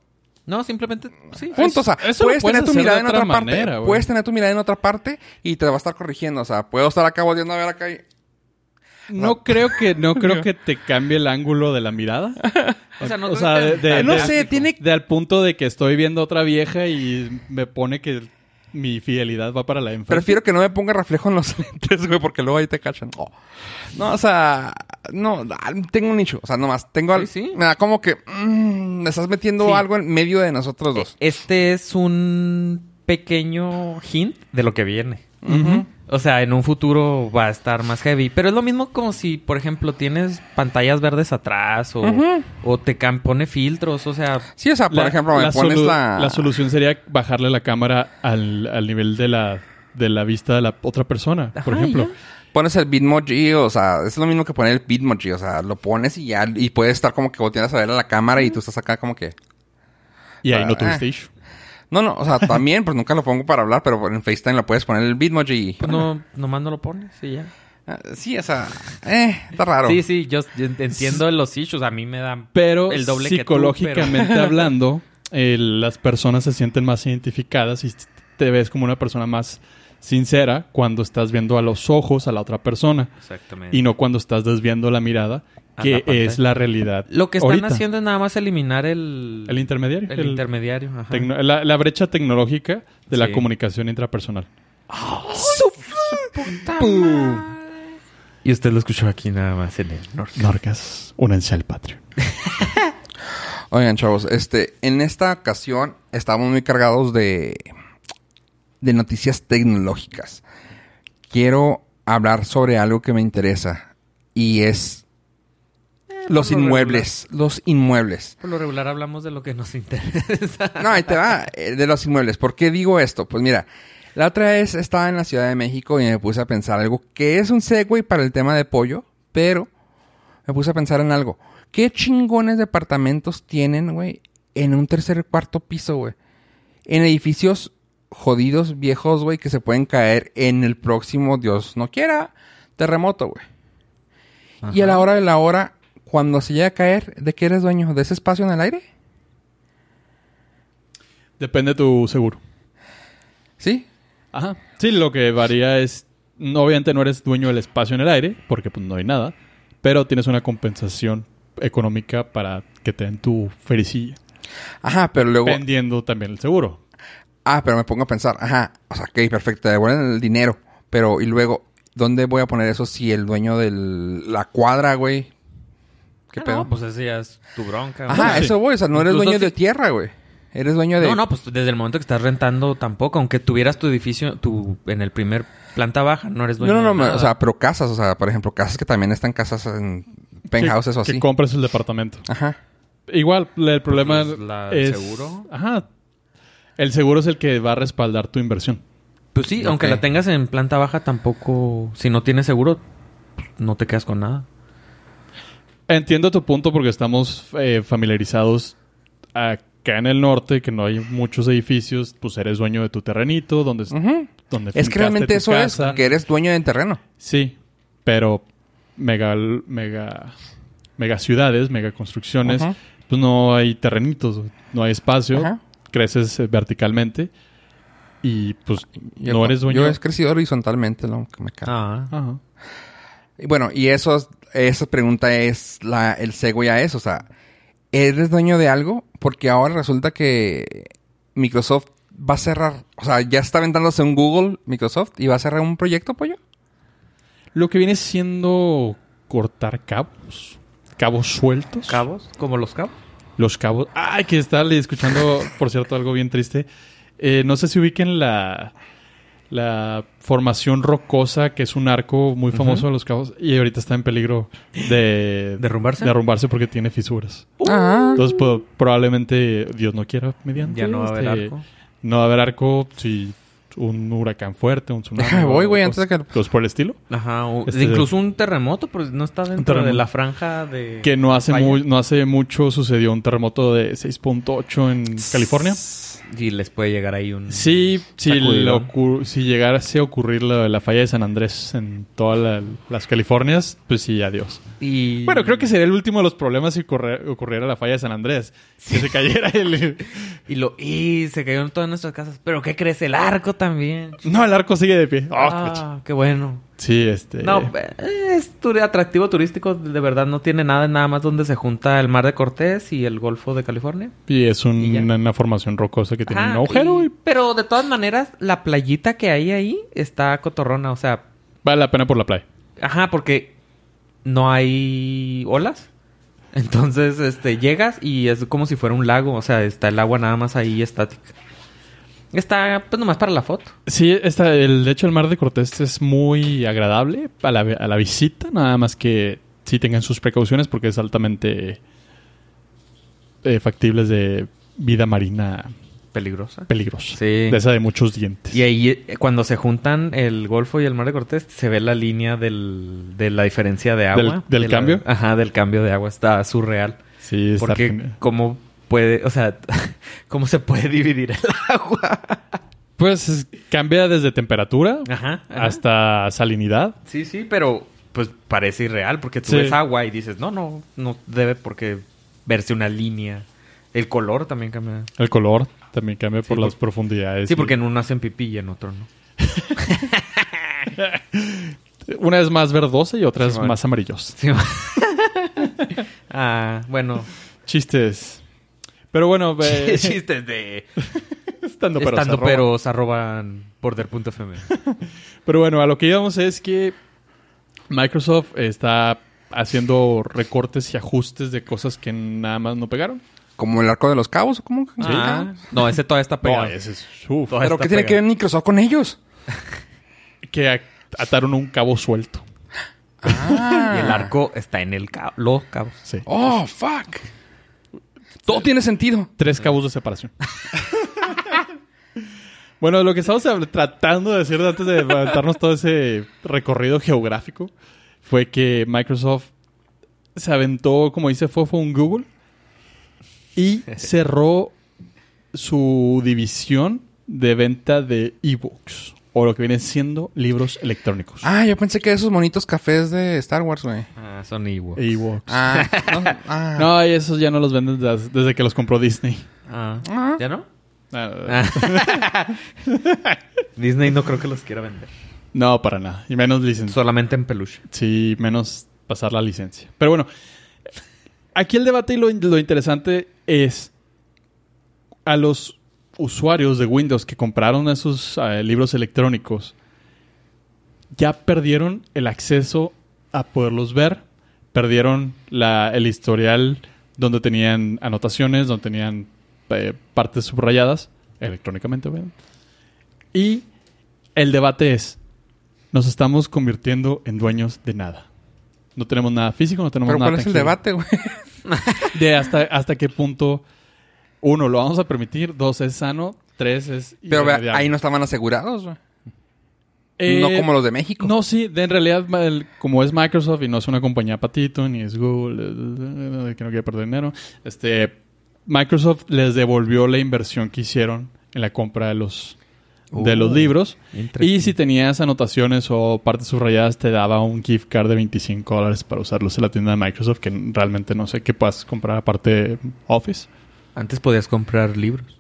C: No, simplemente sí.
A: Punto, o sea,
B: eso lo
A: puedes
B: puedes
A: tener tu
B: hacer
A: mirada
B: de
A: en
B: otra
A: otra parte.
B: manera, güey.
A: puedes tener tu mirada en otra parte y te va a estar corrigiendo. O sea, puedo estar acá volviendo a ver acá y.
B: No creo que, no creo que te cambie el ángulo de la mirada.
C: O sea, no-
B: de, de-
A: no
B: de-
A: sé, tiene-
B: de al punto de que estoy viendo a otra vieja y me pone que mi fidelidad va para la enfermedad.
A: Prefiero que no me ponga reflejo en los lentes, güey, porque luego ahí te cachan. Oh. No, o sea, no, ah, tengo un nicho. O sea, nomás, tengo algo.
C: Sí, sí.
A: Me da como que mm, me estás metiendo
C: Sí.
A: algo en medio de nosotros dos.
C: Este es un pequeño hint de lo que viene. O sea, en un futuro va a estar más heavy. Pero es lo mismo como si, por ejemplo, tienes pantallas verdes atrás o, o te cam- pone filtros. O sea,
A: Sí, o sea, por
B: La-
A: ejemplo, me
B: la
A: pones
B: solu-
A: la.
B: la solución sería bajarle la cámara al, al nivel de la, de la vista de la otra persona, por
C: Ajá,
B: ejemplo.
A: Pones el Bitmoji, o sea, es lo mismo que poner el Bitmoji. O sea, lo pones y ya. Y puedes estar como que volteando a ver a la cámara y tú estás acá como que.
B: Y ahí
A: Ah,
B: no tuviste
A: ah.
B: issue.
A: No, no, o sea, también, pues nunca lo pongo para hablar, pero en FaceTime lo puedes poner el Bitmoji. y-
C: pues no, nomás no lo pones y ya.
A: Ah, Sí, o sea, eh, está raro.
C: Sí, sí, yo, yo entiendo los issues. A mí me dan
B: Pero
C: el doble que tú,
B: psicológicamente
C: pero-
B: hablando, eh, las personas se sienten más identificadas y te ves como una persona más sincera cuando estás viendo a los ojos a la otra persona
C: Exactamente.
B: y no cuando estás desviando la mirada,
C: A la
B: que
C: pantalla.
B: es la realidad.
C: lo que están
B: ahorita.
C: haciendo es nada más eliminar el,
B: El intermediario.
C: el
B: el
C: intermediario. ajá.
B: tecno- la, la brecha tecnológica de la
C: Sí.
B: comunicación intrapersonal.
C: Y usted lo escuchó aquí nada más en el norte.
B: Norcas, únense al Patreon.
A: Oigan, chavos, este, en esta ocasión estamos muy cargados de, de noticias tecnológicas. Quiero hablar sobre algo que me interesa y es los
C: por lo
A: inmuebles. Los inmuebles.
C: Por lo regular hablamos de lo que nos interesa.
A: No, ahí te va, eh, de los inmuebles. ¿Por qué digo esto? Pues mira, la otra vez estaba en la Ciudad de México y me puse a pensar algo que es un segue para el tema de pollo, pero me puse a pensar en algo. ¿Qué chingones departamentos tienen, güey, en un tercer cuarto piso, güey? En edificios jodidos, viejos, güey, que se pueden caer en el próximo, Dios no quiera, terremoto, güey. Y a la hora de la hora, cuando se llega a caer, ¿de qué eres dueño? ¿De ese espacio en el aire?
B: Depende tu seguro.
A: ¿Sí?
B: Ajá. Sí, lo que varía es, no, obviamente no eres dueño del espacio en el aire, porque pues no hay nada, pero tienes una compensación económica para que te den tu fericilla,
A: Ajá, pero luego...
B: vendiendo también el seguro.
A: Ah, pero me pongo a pensar, ajá, o sea, ok, perfecto, te devuelven el dinero, pero y luego, ¿dónde voy a poner eso si el dueño de la cuadra, güey? ¿Qué
C: Ah,
A: pedo?
C: no, pues esa ya es tu bronca.
A: ajá,
C: güey.
B: sí.
A: eso voy, o sea, no eres
C: Incluso
A: dueño
C: si-
A: de tierra, güey. Eres dueño de...
C: No, no, pues desde el momento que estás rentando tampoco, aunque tuvieras tu edificio tu en el primer planta baja, no eres
A: No,
C: pues, dueño.
A: no, no,
C: de
A: me-
C: nada.
A: o sea, pero casas, o sea, por ejemplo, casas que también están casas en penthouses o
B: que,
A: así.
B: que compres el departamento.
A: Ajá.
B: Igual, la- el problema
C: Pues, la- el
B: es...
C: seguro.
B: Ajá. El seguro es el que va a respaldar tu inversión.
C: pues sí, aunque
A: ok.
C: la tengas en planta baja tampoco, si no tienes seguro, pues, no te quedas con nada.
B: Entiendo tu punto porque estamos eh, familiarizados acá en el norte, que no hay muchos edificios, pues eres dueño de tu terrenito, donde,
A: Ujú.
B: donde
A: Es
B: fincaste
A: que realmente
B: tu
A: eso
B: casa.
A: es, que eres dueño del terreno.
B: Sí, pero mega, mega, mega ciudades, mega construcciones,
A: Ajá.
B: pues no hay terrenitos, no hay espacio,
A: Ajá.
B: creces eh, verticalmente y pues
A: Yo-
B: no eres dueño.
A: Yo he crecido horizontalmente, lo que me cago.
C: Ah.
B: Ajá.
A: Y bueno, y eso, es- esa pregunta es la, el segue a eso. O sea, ¿eres dueño de algo? Porque ahora resulta que Microsoft va a cerrar. O sea, ya está aventándose un Google, Microsoft, y va a cerrar un proyecto, pollo.
B: Lo que viene siendo cortar cabos, cabos sueltos.
C: ¿Cabos? ¿Como los cabos?
B: Los cabos. Ay, que estaba escuchando, por cierto, algo bien triste. Eh, no sé si ubiquen la, la formación rocosa, que es un arco muy famoso de los cabos, y ahorita está en peligro de
C: ¿Derrumbarse?
B: derrumbarse porque tiene fisuras.
A: Ah.
B: Entonces, po- probablemente, Dios no quiera, mediante.
C: ya no va a haber
B: este,
C: arco.
B: No va a haber arco si un huracán fuerte, un tsunami.
A: Déjame voy,
B: o-
A: güey,
B: o-
A: antes de que-
B: cosas por el estilo.
C: Ajá, o-
B: Este-
C: incluso un terremoto, pero no está dentro de
B: terremoto.
C: la franja de...
B: Que no hace,
C: Vaya.
B: mu- no hace mucho sucedió un terremoto de 6.8 en California.
C: Y les puede llegar ahí un...
B: Sí, si,
C: Sacudidón.
B: le ocu- si llegase a ocurrir la, la falla de San Andrés en todas las Californias, pues sí, adiós.
C: Y...
B: Bueno, creo que sería el último de los problemas si corre- ocurriera la falla de San Andrés. Que se cayera el...
C: Y lo... Y se cayó en todas nuestras casas. ¿Pero qué crees? El arco también.
B: No, el arco sigue de pie. Ah, cacho.
C: ah, qué bueno.
B: Sí, este...
C: No, eh, es turi- atractivo turístico. De verdad no tiene nada, nada más donde se junta el mar de Cortés y el Golfo de California.
B: Y es un-
C: y ya.
B: una formación rocosa que tiene
C: Ajá,
B: un agujero
C: y-
B: y
C: Pero de todas maneras, la playita que hay ahí está cotorrona. O sea,
B: vale la pena por la playa.
C: Ajá, porque no hay olas. Entonces, este, llegas y es como si fuera un lago. O sea, está el agua nada más ahí estática. Está, pues, nomás para la foto.
B: Sí, está, el, de hecho el mar de Cortés es muy agradable a la, a la visita, nada más que sí tengan sus precauciones porque es altamente eh, factibles de vida marina
C: Peligrosa.
B: peligrosa.
C: Sí.
B: De esa de muchos dientes.
C: Y ahí, eh, cuando se juntan el Golfo y el Mar de Cortés, se ve la línea del, de la diferencia de agua.
B: ¿Del- del
C: De la-
B: cambio?
C: ajá, del cambio de agua. Está surreal.
B: Sí, está
C: Porque,
B: genial.
C: ¿cómo puede, o sea, cómo se puede dividir el agua?
B: Pues es- cambia desde temperatura
C: Ajá. ajá.
B: hasta salinidad.
C: Sí, sí, pero pues parece irreal porque tú
B: Sí.
C: ves agua y dices, no, no, no debe porque verse una línea. El color también cambia.
B: El color también cambia por
C: por-
B: las profundidades.
C: Sí,
B: y-
C: porque en uno hacen pipí y en otro no.
B: Una es más verdosa y otra es
C: Simón.
B: más amarillosa.
C: Sí. ah, bueno,
B: Chistes. Pero bueno, eh,
C: chistes de
B: estando pero se
C: estando
B: roba.
C: peros arroban border.fm.
B: Pero bueno, a lo que íbamos es que Microsoft está haciendo recortes y ajustes de cosas que nada más no pegaron.
A: Como el arco de los cabos, ¿o cómo?
C: Ah, no, ese todavía está pegado.
B: No, ese es- uf.
C: Todo
A: ¿Pero
C: está
A: qué tiene
C: pegado.
A: que ver Microsoft con ellos?
B: Que a- ataron un cabo suelto.
A: Ah.
C: Y el arco está en el cabo, los cabos.
B: Sí.
A: Oh, fuck. Todo tiene sentido.
B: Tres cabos de separación. bueno, lo que estamos hab- tratando de decir antes de levantarnos todo ese recorrido geográfico fue que Microsoft se aventó, como dice Fofo, un Google y cerró su división de venta de ebooks o lo que vienen siendo libros electrónicos.
A: Ah, yo pensé que esos bonitos cafés de Star Wars, güey.
C: Ah, son igual.
B: Ebooks.
A: Ah, no, ah.
B: No, y esos ya no los venden des- desde que los compró Disney.
C: Ah,
A: Ah.
C: ¿Ya no?
B: Ah,
C: Ah. Disney no creo que los quiera vender.
B: No, para nada. Y menos licenciados.
C: Solamente en peluche.
B: Sí, menos pasar la licencia. Pero bueno, aquí el debate y lo, lo interesante es a los usuarios de Windows que compraron esos eh, libros electrónicos, ya perdieron el acceso a poderlos ver, perdieron la- el historial donde tenían anotaciones, donde tenían eh, partes subrayadas, electrónicamente, obviamente. Y el debate es, nos estamos convirtiendo en dueños de nada. No tenemos nada físico, no tenemos
A: Pero
B: nada
A: ¿cuál es el
B: tangible.
A: debate, güey?
B: De hasta, hasta qué punto, uno, lo vamos a permitir, dos, es sano, tres, es...
A: Pero vea,
B: irremediable.
A: ahí no estaban asegurados, güey.
B: Eh,
A: no como los de México.
B: No, sí, de- en realidad, ma- el- como es Microsoft y no es una compañía patito, ni es Google, eh, eh, eh, que no quiere perder dinero, este, Microsoft les devolvió la inversión que hicieron en la compra de los, de los
C: Uh.
B: libros.
C: Entre-
B: Y si tenías anotaciones o partes subrayadas, te daba un gift card de 25 dólares para usarlos en la tienda de Microsoft, que realmente no sé qué puedas comprar aparte de Office.
C: Antes podías comprar libros.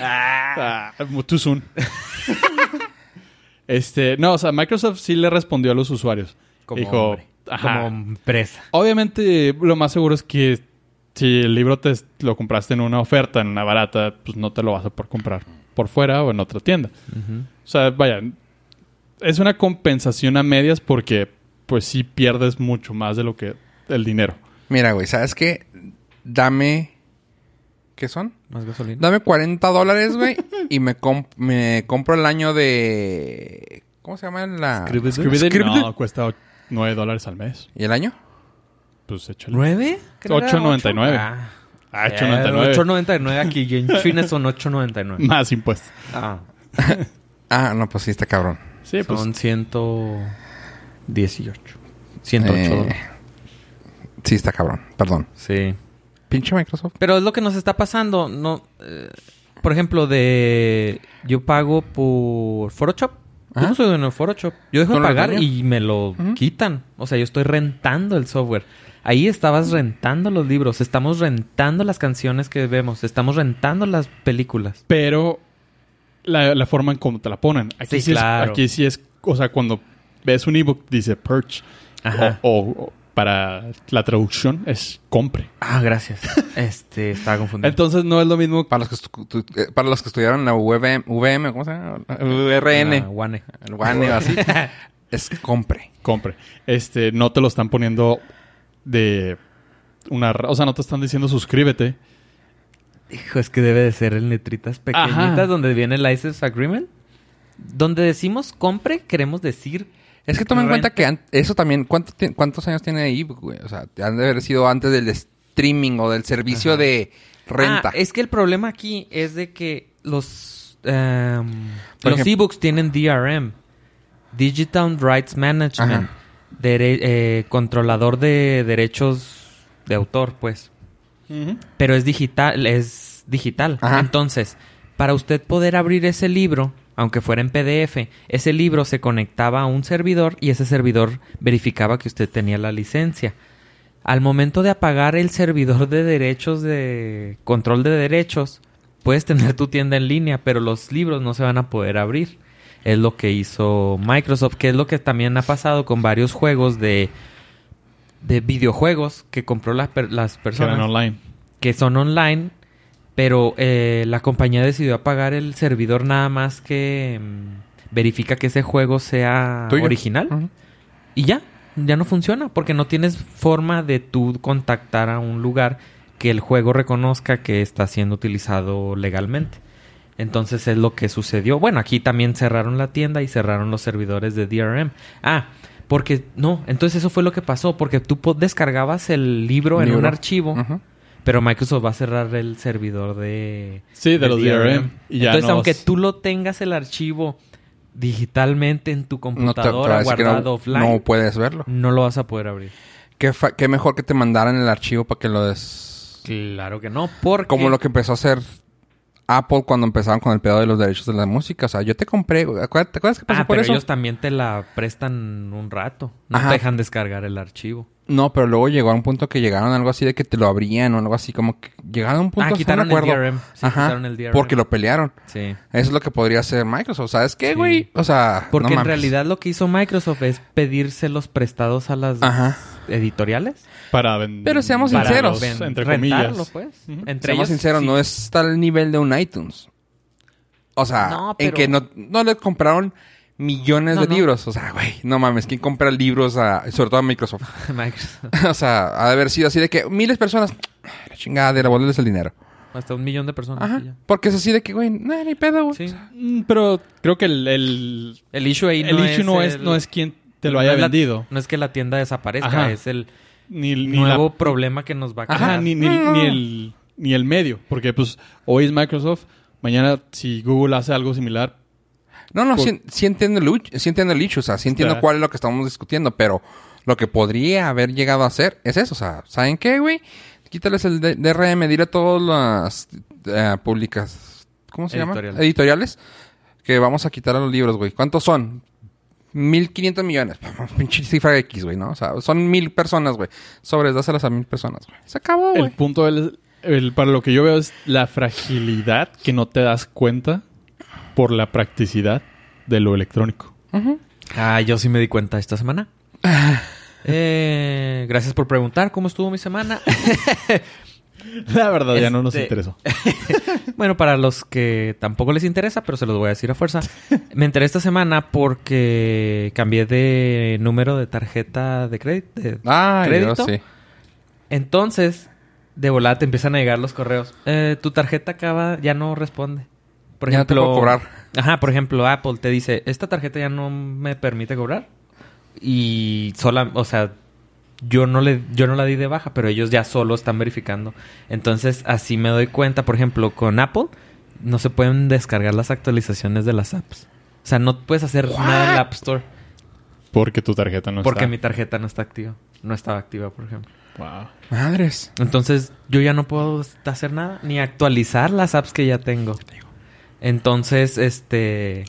B: Ah, too soon. este, no, o sea, Microsoft sí le respondió a los usuarios.
C: Como
B: Dijo,
C: hombre,
B: ajá.
C: como empresa.
B: Obviamente, lo más seguro es que si el libro te lo compraste en una oferta, en una barata, pues no te lo vas a poder comprar por fuera o en otra tienda. O sea, vaya, es una compensación a medias porque pues sí pierdes mucho más de lo que el dinero.
A: Mira, güey, ¿sabes qué? Dame... ¿Qué son?
C: Más gasolina.
A: Dame 40 dólares, güey, y me, comp- me compro el año de... ¿Cómo se llama la...?
C: Escribe-
B: Scribd
A: Scribd.
B: no, cuesta 9 dólares al mes.
A: ¿Y el año?
B: Pues échale.
C: ¿Nueve? Creo que era
B: 8.99.
C: ocho. Ah.
B: Ah,
C: Eh,
B: 8.99.
C: 8.99 aquí. y En China son 8.99.
B: Más impuestos.
C: Ah,
A: Ah, no, pues sí, está cabrón.
B: Sí, pues
C: son 118. 108
A: Eh,
C: dólares.
A: Sí, está cabrón. Perdón.
C: Sí.
A: Pinche Microsoft.
C: Pero es lo que nos está pasando. No, eh, por ejemplo, de yo pago por Photoshop. Yo
A: Ajá.
C: no soy dueño de Photoshop. Yo dejo
A: ¿Tú
C: de
A: no eres
C: pagar
A: dueño?
C: y me lo
A: Ujú.
C: quitan. O sea, yo estoy rentando el software. Ahí estabas rentando los libros. Estamos rentando las canciones que vemos. Estamos rentando las películas.
B: pero la, la forma en cómo te la ponen. Aquí sí,
C: Sí,
B: es,
C: claro.
B: aquí sí es, o sea, cuando ves un ebook dice perch
C: Ajá.
B: o, o- o para la traducción es compre.
C: Ah, gracias. Este, estaba confundido.
B: Entonces no es lo mismo.
A: Para los que, estu- tu- eh, para los que estudiaron la VM, VM, ¿cómo se llama? VRN.
C: Ah, Guane.
A: El WAN o así. es compre.
B: compre. Este, no te lo están poniendo de una, ra- o sea, no te están diciendo suscríbete.
C: Hijo, es que debe de ser en letritas pequeñitas
B: Ajá.
C: donde viene el license agreement. Donde decimos compre, queremos decir
A: Es que tomen en cuenta
C: Renta.
A: que an- eso también... ¿cuánto ti- ¿Cuántos años tiene ahí, güey? O sea, han de haber sido antes del streaming o del servicio de renta.
C: Ah, es que el problema aquí es de que los em,
A: Por
C: los
A: ejemplo-
C: ebooks tienen DRM, Digital Rights Management,
A: Ajá.
C: dere- eh, controlador de derechos de autor, pues. Pero es digital, es digital.
A: Ajá.
C: Entonces, para usted poder abrir ese libro, aunque fuera en PDF, ese libro se conectaba a un servidor y ese servidor verificaba que usted tenía la licencia. Al momento de apagar el servidor de derechos de control de derechos, puedes tener tu tienda en línea, pero los libros no se van a poder abrir. Es lo que hizo Microsoft, que es lo que también ha pasado con varios juegos de, de videojuegos que compró las, per- las
B: Que eran
C: personas
B: online.
C: que son online, pero eh, la compañía decidió apagar el servidor nada más que mm, verifica que ese juego sea
A: ¿Tuyo?
C: original
A: Ujú.
C: y ya, ya no funciona porque no tienes forma de tú contactar a un lugar que el juego reconozca que está siendo utilizado legalmente. Entonces es lo que sucedió. Bueno, aquí también cerraron la tienda y cerraron los servidores de DRM. Ah, porque no, entonces eso fue lo que pasó, porque tú po- descargabas el libro en un
A: Libro.
C: archivo.
A: Ujú.
C: Pero Microsoft va a cerrar el servidor de...
B: Sí, de los DRM. Y ya
C: Entonces,
B: no
C: aunque
B: vas-
C: tú lo tengas el archivo digitalmente en tu
A: No te, te voy
C: computadora
A: a decir que no-
C: guardado offline,
A: no
C: no,
A: puedes verlo.
C: lo vas a poder abrir.
A: Qué, fa- qué mejor que te mandaran el archivo para que lo des...
C: Claro que no, porque...
A: Como lo que empezó a hacer Apple cuando empezaron con el pedo de los derechos de la música. O sea, yo te compré. güey. Acuérdate- ¿Te acuerdas que pasó
C: Ah,
A: por
C: pero
A: eso?
C: ellos también te la prestan un rato. No
A: Ajá.
C: te dejan descargar el archivo.
A: No, pero luego llegó a un punto que llegaron a algo así de que te lo abrían o algo así. Como que llegaron a un punto
C: Ah,
A: hasta un
C: quitaron el
A: acuerdo.
C: DRM. Sí,
A: Ajá,
C: quitaron el DRM.
A: Porque lo pelearon.
C: Sí.
A: Eso es lo que podría hacer Microsoft. ¿Sabes qué,
C: Sí.
A: güey? O sea,
C: Porque
A: no
C: en
A: mames.
C: realidad lo que hizo Microsoft es pedirse los prestados a las
A: Ajá.
C: editoriales.
B: Para vender.
A: Pero seamos
B: para
A: sinceros.
B: los, entre
C: rentarlo,
B: comillas.
C: pues.
B: Ujú.
C: Entre
A: Seamos
C: ellos,
A: sinceros,
C: sí.
A: no está al nivel de un iTunes. O sea,
C: No,
A: en que
C: pero-
A: no, no le compraron millones
C: No,
A: de
C: no.
A: libros. O sea, güey, no mames. ¿Quién compra libros a... Sobre todo a Microsoft.
C: Microsoft.
A: o sea, ha de haber sido así de que miles de personas... La chingada, de devolverles el dinero.
C: Hasta un millón de personas.
A: Ajá.
C: y Ah, ya.
A: Porque es así de que, güey, nah, ni pedo, güey.
C: Sí.
B: Mm, Pero creo que el, el,
C: El issue ahí
B: el
C: no
B: issue
C: es
B: no, es,
C: el-
B: no es quien te lo haya
C: es la-
B: vendido.
C: no es que la tienda desaparezca,
B: Ajá.
C: es el
B: Ni, ni la-
C: nuevo problema que nos va a
A: Ajá,
B: Ajá,
C: crear.
B: ni, ni-
A: No, no,
B: ni
A: no.
B: el, ni el medio. Porque pues hoy es Microsoft, mañana si Google hace algo similar,
A: No, no,
B: Por-
A: sí, sí entiendo el, uch- sí entiendo el issue, o sea, sí entiendo
B: Claro.
A: cuál es lo que estamos discutiendo, pero lo que podría haber llegado a ser es eso, o sea, ¿saben qué, güey? Quítales el D- DRM, dile a todas las eh, públicas, ¿cómo se llama?
C: Editoriales.
A: Editoriales, que vamos a quitar a los libros, güey. ¿Cuántos son? 1500 millones, pinche cifra X, güey, ¿no? O sea, son mil personas, güey. Sobres, dáselas a mil personas, güey. Se acabó,
B: el
A: güey.
B: punto del- el- para lo que yo veo es la fragilidad que no te das cuenta por la practicidad de lo electrónico.
A: Ujú.
C: Ah, yo sí me di cuenta esta semana. Eh, gracias por preguntar cómo estuvo mi semana.
B: La verdad ya no nos
C: Este-
B: interesó.
C: Bueno, para los que tampoco les interesa, pero se los voy a decir a fuerza. Me enteré esta semana porque cambié de número de tarjeta de crédito. de-
A: Ay,
C: ¿Crédito?
A: Dios, sí.
C: Entonces, de volada te empiezan a llegar los correos. Eh, tu tarjeta acaba, ya no responde. Por
A: Ya no te
C: ejemplo,
A: puedo cobrar.
C: Ajá, por ejemplo, Apple te dice, esta tarjeta ya no me permite cobrar. Y sola, o sea, yo no le, yo no la di de baja, pero ellos ya solo están verificando. Entonces, así me doy cuenta, por ejemplo, con Apple, no se pueden descargar las actualizaciones de las apps. O sea, no puedes hacer nada en la App Store
B: Porque tu tarjeta no
C: porque
B: está.
C: mi tarjeta no está activa. No estaba activa, por ejemplo.
B: Wow.
A: Madres.
C: Entonces, yo ya no puedo hacer nada, ni actualizar las apps que ya tengo. Entonces, este.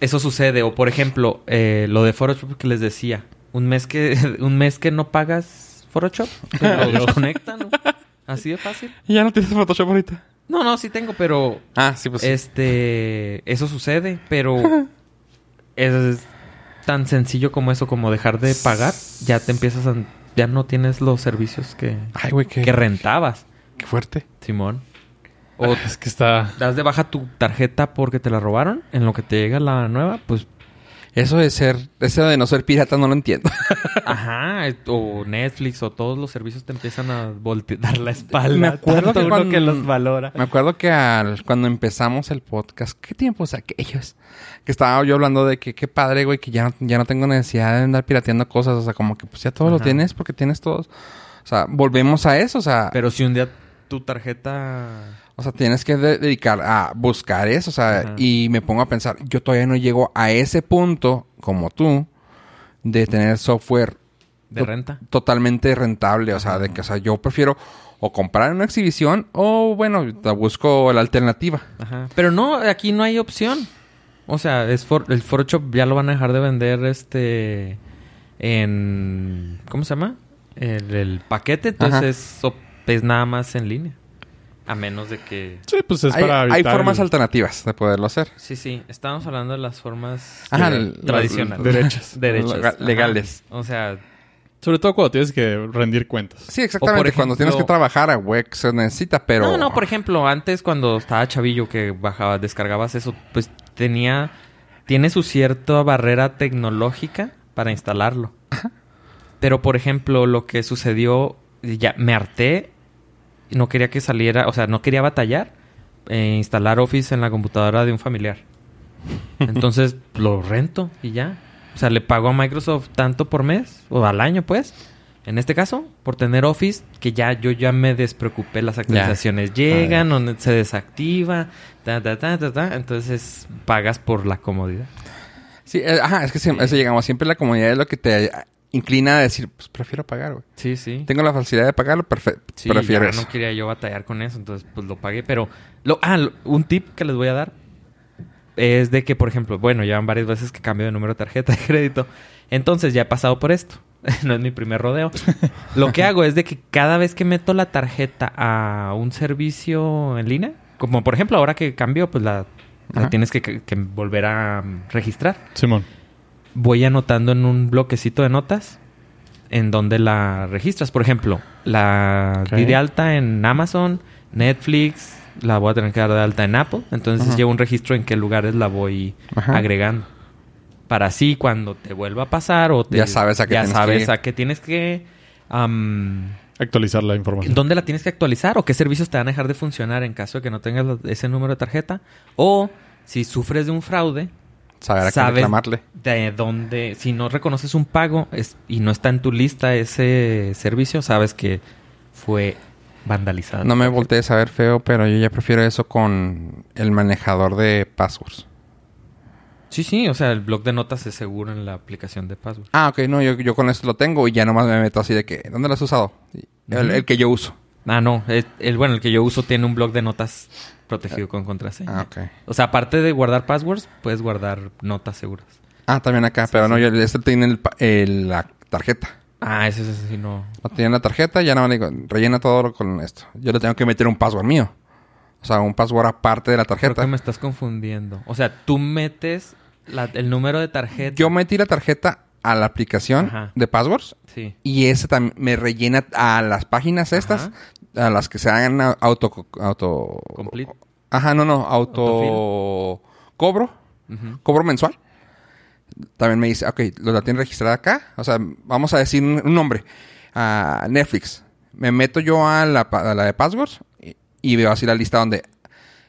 C: Eso sucede. O por ejemplo, eh, lo de Photoshop que les decía. Un mes que, un mes que no pagas Photoshop, te lo
B: Adiós.
C: desconectan. ¿no? Así de fácil.
A: ¿Y ya no tienes Photoshop ahorita?
C: No, no, sí tengo, pero
A: Ah, sí, pues sí.
C: este, eso sucede, pero es tan sencillo como eso, como dejar de pagar, ya te empiezas a, ya no tienes los servicios que,
A: Ay, güey, qué,
C: que rentabas,
A: qué fuerte.
C: Simón. O
B: Es que está...
C: das de baja tu tarjeta porque te la robaron, en lo que te llega la nueva, pues,
A: Eso de ser, eso de no ser pirata no lo entiendo.
C: ajá, eh, o Netflix o todos los servicios te empiezan a voltear dar la espalda.
A: Me acuerdo
C: tanto
A: que
C: uno
A: cuando-
C: que los valora.
A: Me acuerdo que al, cuando empezamos el podcast, ¿qué tiempos aquellos? Que estaba yo hablando de que qué padre, güey, que ya, no- ya no tengo necesidad de andar pirateando cosas. O sea, como que pues ya todo lo
C: Ajá.
A: tienes porque tienes todos. O sea, volvemos a eso. O sea,
C: Pero si un día tu tarjeta
A: o sea tienes que de- dedicar a buscar eso. O sea,
C: Ajá.
A: y me pongo a pensar, yo todavía no llego a ese punto, como tú, de tener software
C: de
A: Lo-
C: renta.
A: totalmente rentable. O sea, de que, o sea, yo prefiero o comprar en una exhibición o, bueno, te busco la alternativa.
C: Ajá. Pero no, aquí no hay opción. O sea, es for- el Photoshop ya lo van a dejar de vender este en ¿cómo se llama? El, el paquete,
A: Ajá.
C: entonces es, op- es nada más en línea. A menos de que
B: Sí, pues es
A: hay,
B: para
A: hay
B: evitar
A: formas
B: el-
A: alternativas de poderlo hacer.
C: Sí, sí, estamos hablando de las formas
A: Ajá,
C: eh,
A: el-
C: tradicionales,
A: las-
B: derechas.
C: derechos,
A: Lega-
C: Ajá.
A: legales.
C: O sea,
B: Sobre todo cuando tienes que rendir cuentas.
A: Sí, exactamente.
C: ejemplo-
A: Cuando tienes que trabajar a Wex se necesita, pero...
C: No, no, por ejemplo, antes cuando estaba chavillo que bajaba, descargabas eso, pues tenía, tiene su cierta barrera tecnológica para instalarlo. Pero, por ejemplo, lo que sucedió, ya me harté, y no quería que saliera, o sea, no quería batallar, e instalar Office en la computadora de un familiar. Entonces, lo rento y ya. O sea, le pago a Microsoft tanto por mes, o al año, pues. En este caso, por tener Office, que ya yo ya me despreocupé, las actualizaciones llegan, o ne- se desactiva, ta, ta, ta, ta, ta. Entonces, pagas por la comodidad.
A: Sí, eh, ajá, es que siempre- eso llegamos. Siempre la comunidad es lo que te eh, inclina a decir, pues prefiero pagar, güey.
C: Sí, sí.
A: Tengo la facilidad de pagarlo, perfecto.
C: Sí,
A: prefiero
C: ya
A: eso.
C: no quería yo batallar con eso, entonces pues lo pagué, pero lo, ah, lo- un tip que les voy a dar es de que, por ejemplo, bueno, ya van varias veces que cambio de número de tarjeta de crédito, entonces ya he pasado por esto, no es mi primer rodeo. lo que hago es de que cada vez que meto la tarjeta a un servicio en línea, como por ejemplo ahora que cambio, pues la, la
A: Ajá.
C: tienes que, que volver a mm, registrar
B: Simón.
C: voy anotando en un bloquecito de notas en donde la registras. Por ejemplo, la
B: Ok.
C: di de alta en Amazon, Netflix, la voy a tener que dar de alta en Apple. Entonces
A: Ajá.
C: llevo un registro en qué lugares la voy
A: Ajá.
C: agregando. Para así cuando te vuelva a pasar o te,
A: Ya sabes a qué
C: ya
A: tienes
C: sabes
A: que ir.
C: a qué tienes que am,
B: actualizar la información.
C: ¿Dónde la tienes que actualizar o qué servicios te van a dejar de funcionar en caso de que no tengas la- ese número de tarjeta? O si sufres de un fraude,
A: Saber a quién
C: sabes
A: reclamarle.
C: de dónde, si no reconoces un pago es- y no está en tu lista ese servicio, sabes que fue vandalizado.
A: No me voltees a ver feo, pero yo ya prefiero eso con el manejador de passwords.
C: Sí, sí, o sea, el blog de notas es seguro en la aplicación de password.
A: Ah, ok, no, yo, yo con esto lo tengo y ya nomás me meto así de que, ¿dónde lo has usado? El,
C: Ujú.
A: el que yo uso.
C: Ah, no, el, el- bueno, el que yo uso tiene un blog de notas protegido con contraseña.
A: Ah, ok.
C: O sea, aparte de guardar passwords, puedes guardar notas seguras.
A: Ah, también acá, pero no, yo, este tiene el pa- el- la tarjeta.
C: Ah, eso es así, no.
A: No tenía la tarjeta, ya no le digo, rellena todo lo- con esto. Yo le tengo que meter un password mío. O sea, un password aparte de la
C: Creo que
A: tarjeta.
C: me estás confundiendo. O sea, tú metes la- el número de tarjeta.
A: Yo metí la tarjeta a la aplicación
C: Ajá.
A: de passwords
C: Sí.
A: y ese tam- me rellena a las páginas estas, a las que se hagan a- auto auto
C: Complete.
A: Ajá, no, no, auto cobro,
C: Ujú.
A: cobro mensual. También me dice, ok, lo- la tiene registrada acá. O sea, vamos a decir un, un nombre. A Netflix. Me meto yo a la, pa- a la de passwords y, y veo así la lista donde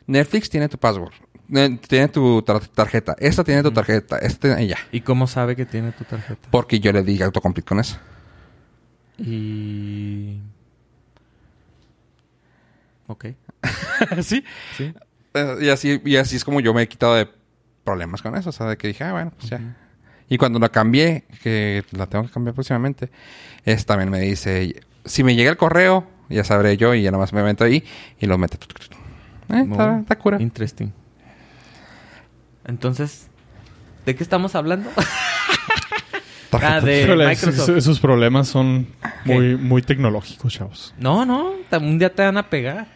A: Netflix tiene tu password. Ne- Tiene tu tar- tarjeta. Esta tiene tu tarjeta. Esta y ya.
C: ¿Y cómo sabe que tiene tu tarjeta?
A: Porque yo le di autocomplete con eso.
C: Y. Ok.
A: sí.
C: Sí.
A: Eh, Y así, y así es como yo me he quitado de problemas con eso. O sea, de que dije, ah, bueno, pues ya. Y cuando la cambié, que la tengo que cambiar próximamente, es también me dice, si me llega el correo, ya sabré yo y ya nada más me meto ahí y lo meto. Eh, está,
C: Muy
A: está cura.
C: Interesting. Entonces, ¿de qué estamos hablando?
A: Tarjeta.
C: Ah, de
B: Híjole,
C: Microsoft.
B: esos, esos problemas son
C: ¿Qué?
B: muy, muy tecnológicos, chavos.
C: No, no, ta- un día te van a pegar.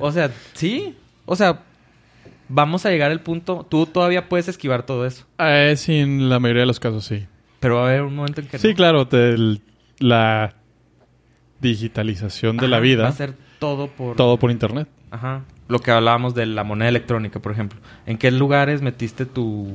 C: o sea, sí. O sea, vamos a llegar al punto. Tú todavía puedes esquivar todo eso.
B: Eh, sí, en la mayoría de los casos sí.
C: Pero va a haber un momento en que
B: Sí,
C: no.
B: claro, te- el- la digitalización de la
C: Ajá, Va
B: vida,
C: a ser todo por.
B: todo por internet.
C: Ajá. Lo que hablábamos de la moneda electrónica, por ejemplo. ¿En qué lugares metiste tu,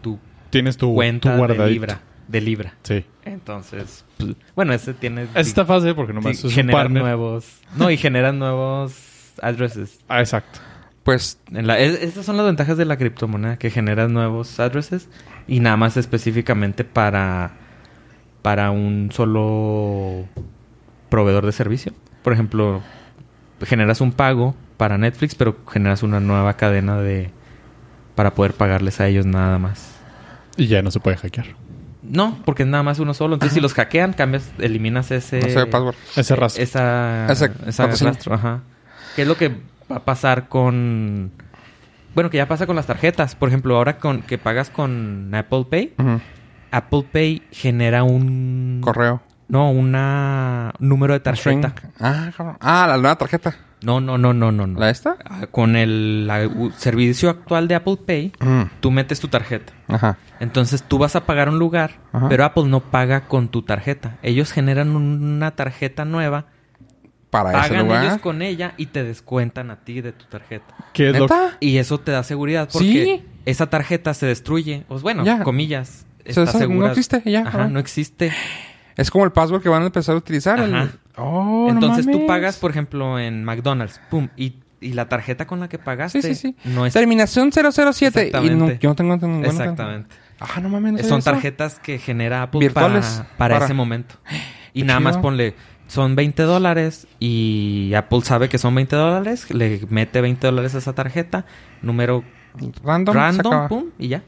C: tu
B: Tienes tu,
C: cuenta
B: tu
C: de
B: guardadito.
C: Libra? De Libra.
B: Sí.
C: Entonces, pues, bueno, ese tiene.
B: Esta fase, porque
C: sí,
B: nomás es un
C: generan
B: partner.
C: nuevos. No, y generan nuevos addresses.
B: Ah, exacto.
A: Pues
C: En la- es- estas son las ventajas de la criptomoneda, que generas nuevos addresses y nada más específicamente para, para un solo proveedor de servicio. Por ejemplo, generas un pago para Netflix, pero generas una nueva cadena de para poder pagarles a ellos nada más.
B: Y ya no se puede hackear.
C: No, porque es nada más uno solo. Entonces, si los hackean, cambias, eliminas ese... eh,
A: no sé el password.
B: Ese rastro.
C: Esa,
A: Esa
C: esa
A: contraseña.
C: rastro, ajá. ¿Qué es lo que va a pasar con... Bueno, que ya pasa con las tarjetas. Por ejemplo, ahora con que pagas con Apple Pay,
A: Ujú.
C: Apple Pay genera un...
A: Correo.
C: No, una... un número de tarjeta.
A: String. Ah, cabrón. Ah, la nueva tarjeta.
C: No, no, no, no, no. no.
A: ¿La esta?
C: Ah, Con el la- u- servicio actual de Apple Pay,
A: Ujú.
C: tú metes tu tarjeta.
A: Mm. Ajá.
C: Entonces tú vas a pagar un lugar,
A: Ajá.
C: pero Apple no paga con tu tarjeta. Ellos generan una tarjeta nueva
A: Para ese
C: pagan ellos
A: lugar.
C: con ella y te descuentan a ti de tu tarjeta.
B: ¿Qué es lo
A: ¿Neta?
C: Y eso te da seguridad porque
A: Sí.
C: esa tarjeta se destruye. Pues bueno,
A: Ya.
C: comillas.
A: Se
C: Está
A: desa- no
C: segura.
A: existe, ya,
C: Ajá,
A: cabrón.
C: no existe.
A: Es como el password que van a empezar a utilizar. el-
C: Ajá.
A: Oh, no
C: Entonces tú
A: mames.
C: pagas, por ejemplo, en McDonald's, pum, y, y la tarjeta con la que pagaste
A: Sí, sí, sí.
C: no es...
A: Terminación 007. Y no-
C: Exactamente.
A: yo no tengo ninguna.
C: Exactamente.
A: Ah, no mames. no sabía
C: Eh, Son
A: eso.
C: tarjetas que genera Apple
A: Virtuales,
C: para, para
A: para-
C: ese momento. Y
A: Qué
C: nada más
A: chido.
C: ponle, son 20 dólares y Apple sabe que son 20 dólares, le mete 20 dólares a esa tarjeta, número
A: Random. se
C: random,
A: acaba.
C: pum, y ya.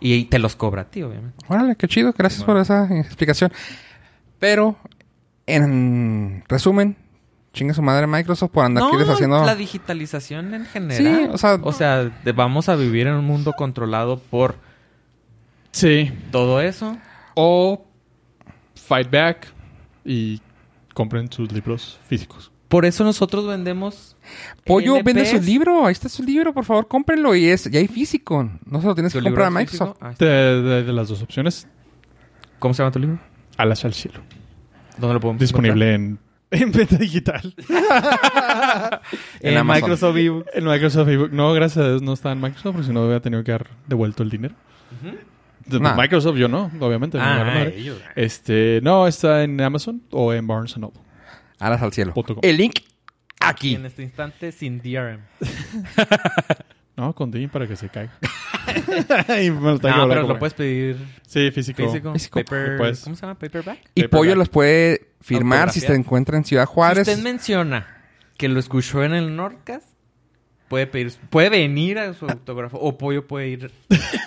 C: Y, y te los cobra a ti, obviamente.
A: Órale, qué chido. Gracias por esa eh, explicación. Pero, en resumen, chinga su madre Microsoft por andar aquí deshaciendo.
C: la digitalización en general.
A: Sí, o sea-
C: O sea, de- vamos a vivir en un mundo controlado por
B: Sí.
C: todo eso.
B: O fight back y compren sus libros físicos.
C: Por eso nosotros vendemos...
A: Pollo
C: NPs.
A: vende su libro. Ahí está su libro. Por favor, cómprenlo. Y es ya hay físico. No se lo tienes
C: Tu
A: que
C: libro
A: comprar a
C: físico.
A: Microsoft.
C: Ah,
B: De, de- de las dos opciones,
C: ¿Cómo se llama tu libro?
B: alas al cielo.
C: ¿Dónde lo podemos
B: Disponible en, en venta digital.
C: encontrar?
A: en
C: En
A: Amazon.
C: Microsoft Vivo.
B: En Microsoft Facebook. No, gracias a Dios no está en Microsoft, porque si no hubiera tenido que dar devuelto el dinero. De-
A: Nah.
B: Microsoft yo no, obviamente. me
C: Ah,
B: vale madre.
C: ellos.
B: Este, no, está en Amazon o en Barnes Noble.
A: Alas al cielo.
B: Punto com.
A: El link aquí.
C: En este instante, sin DRM.
B: No, con Dean para que se caiga. Y me lo está
C: No,
B: hablando
C: pero
B: por
C: lo
B: ahí.
C: puedes pedir
B: Sí, físico.
C: físico.
A: Físico.
C: Paper-
B: Lo puedes.
C: ¿Cómo se llama? ¿Paperback?
A: Y
B: Paperback.
A: Pollo los puede firmar si se
C: Autografiado.
A: encuentra en Ciudad Juárez.
C: Si usted menciona que lo escuchó en el Nordcast, puede pedir, puede venir a su autógrafo o Pollo puede ir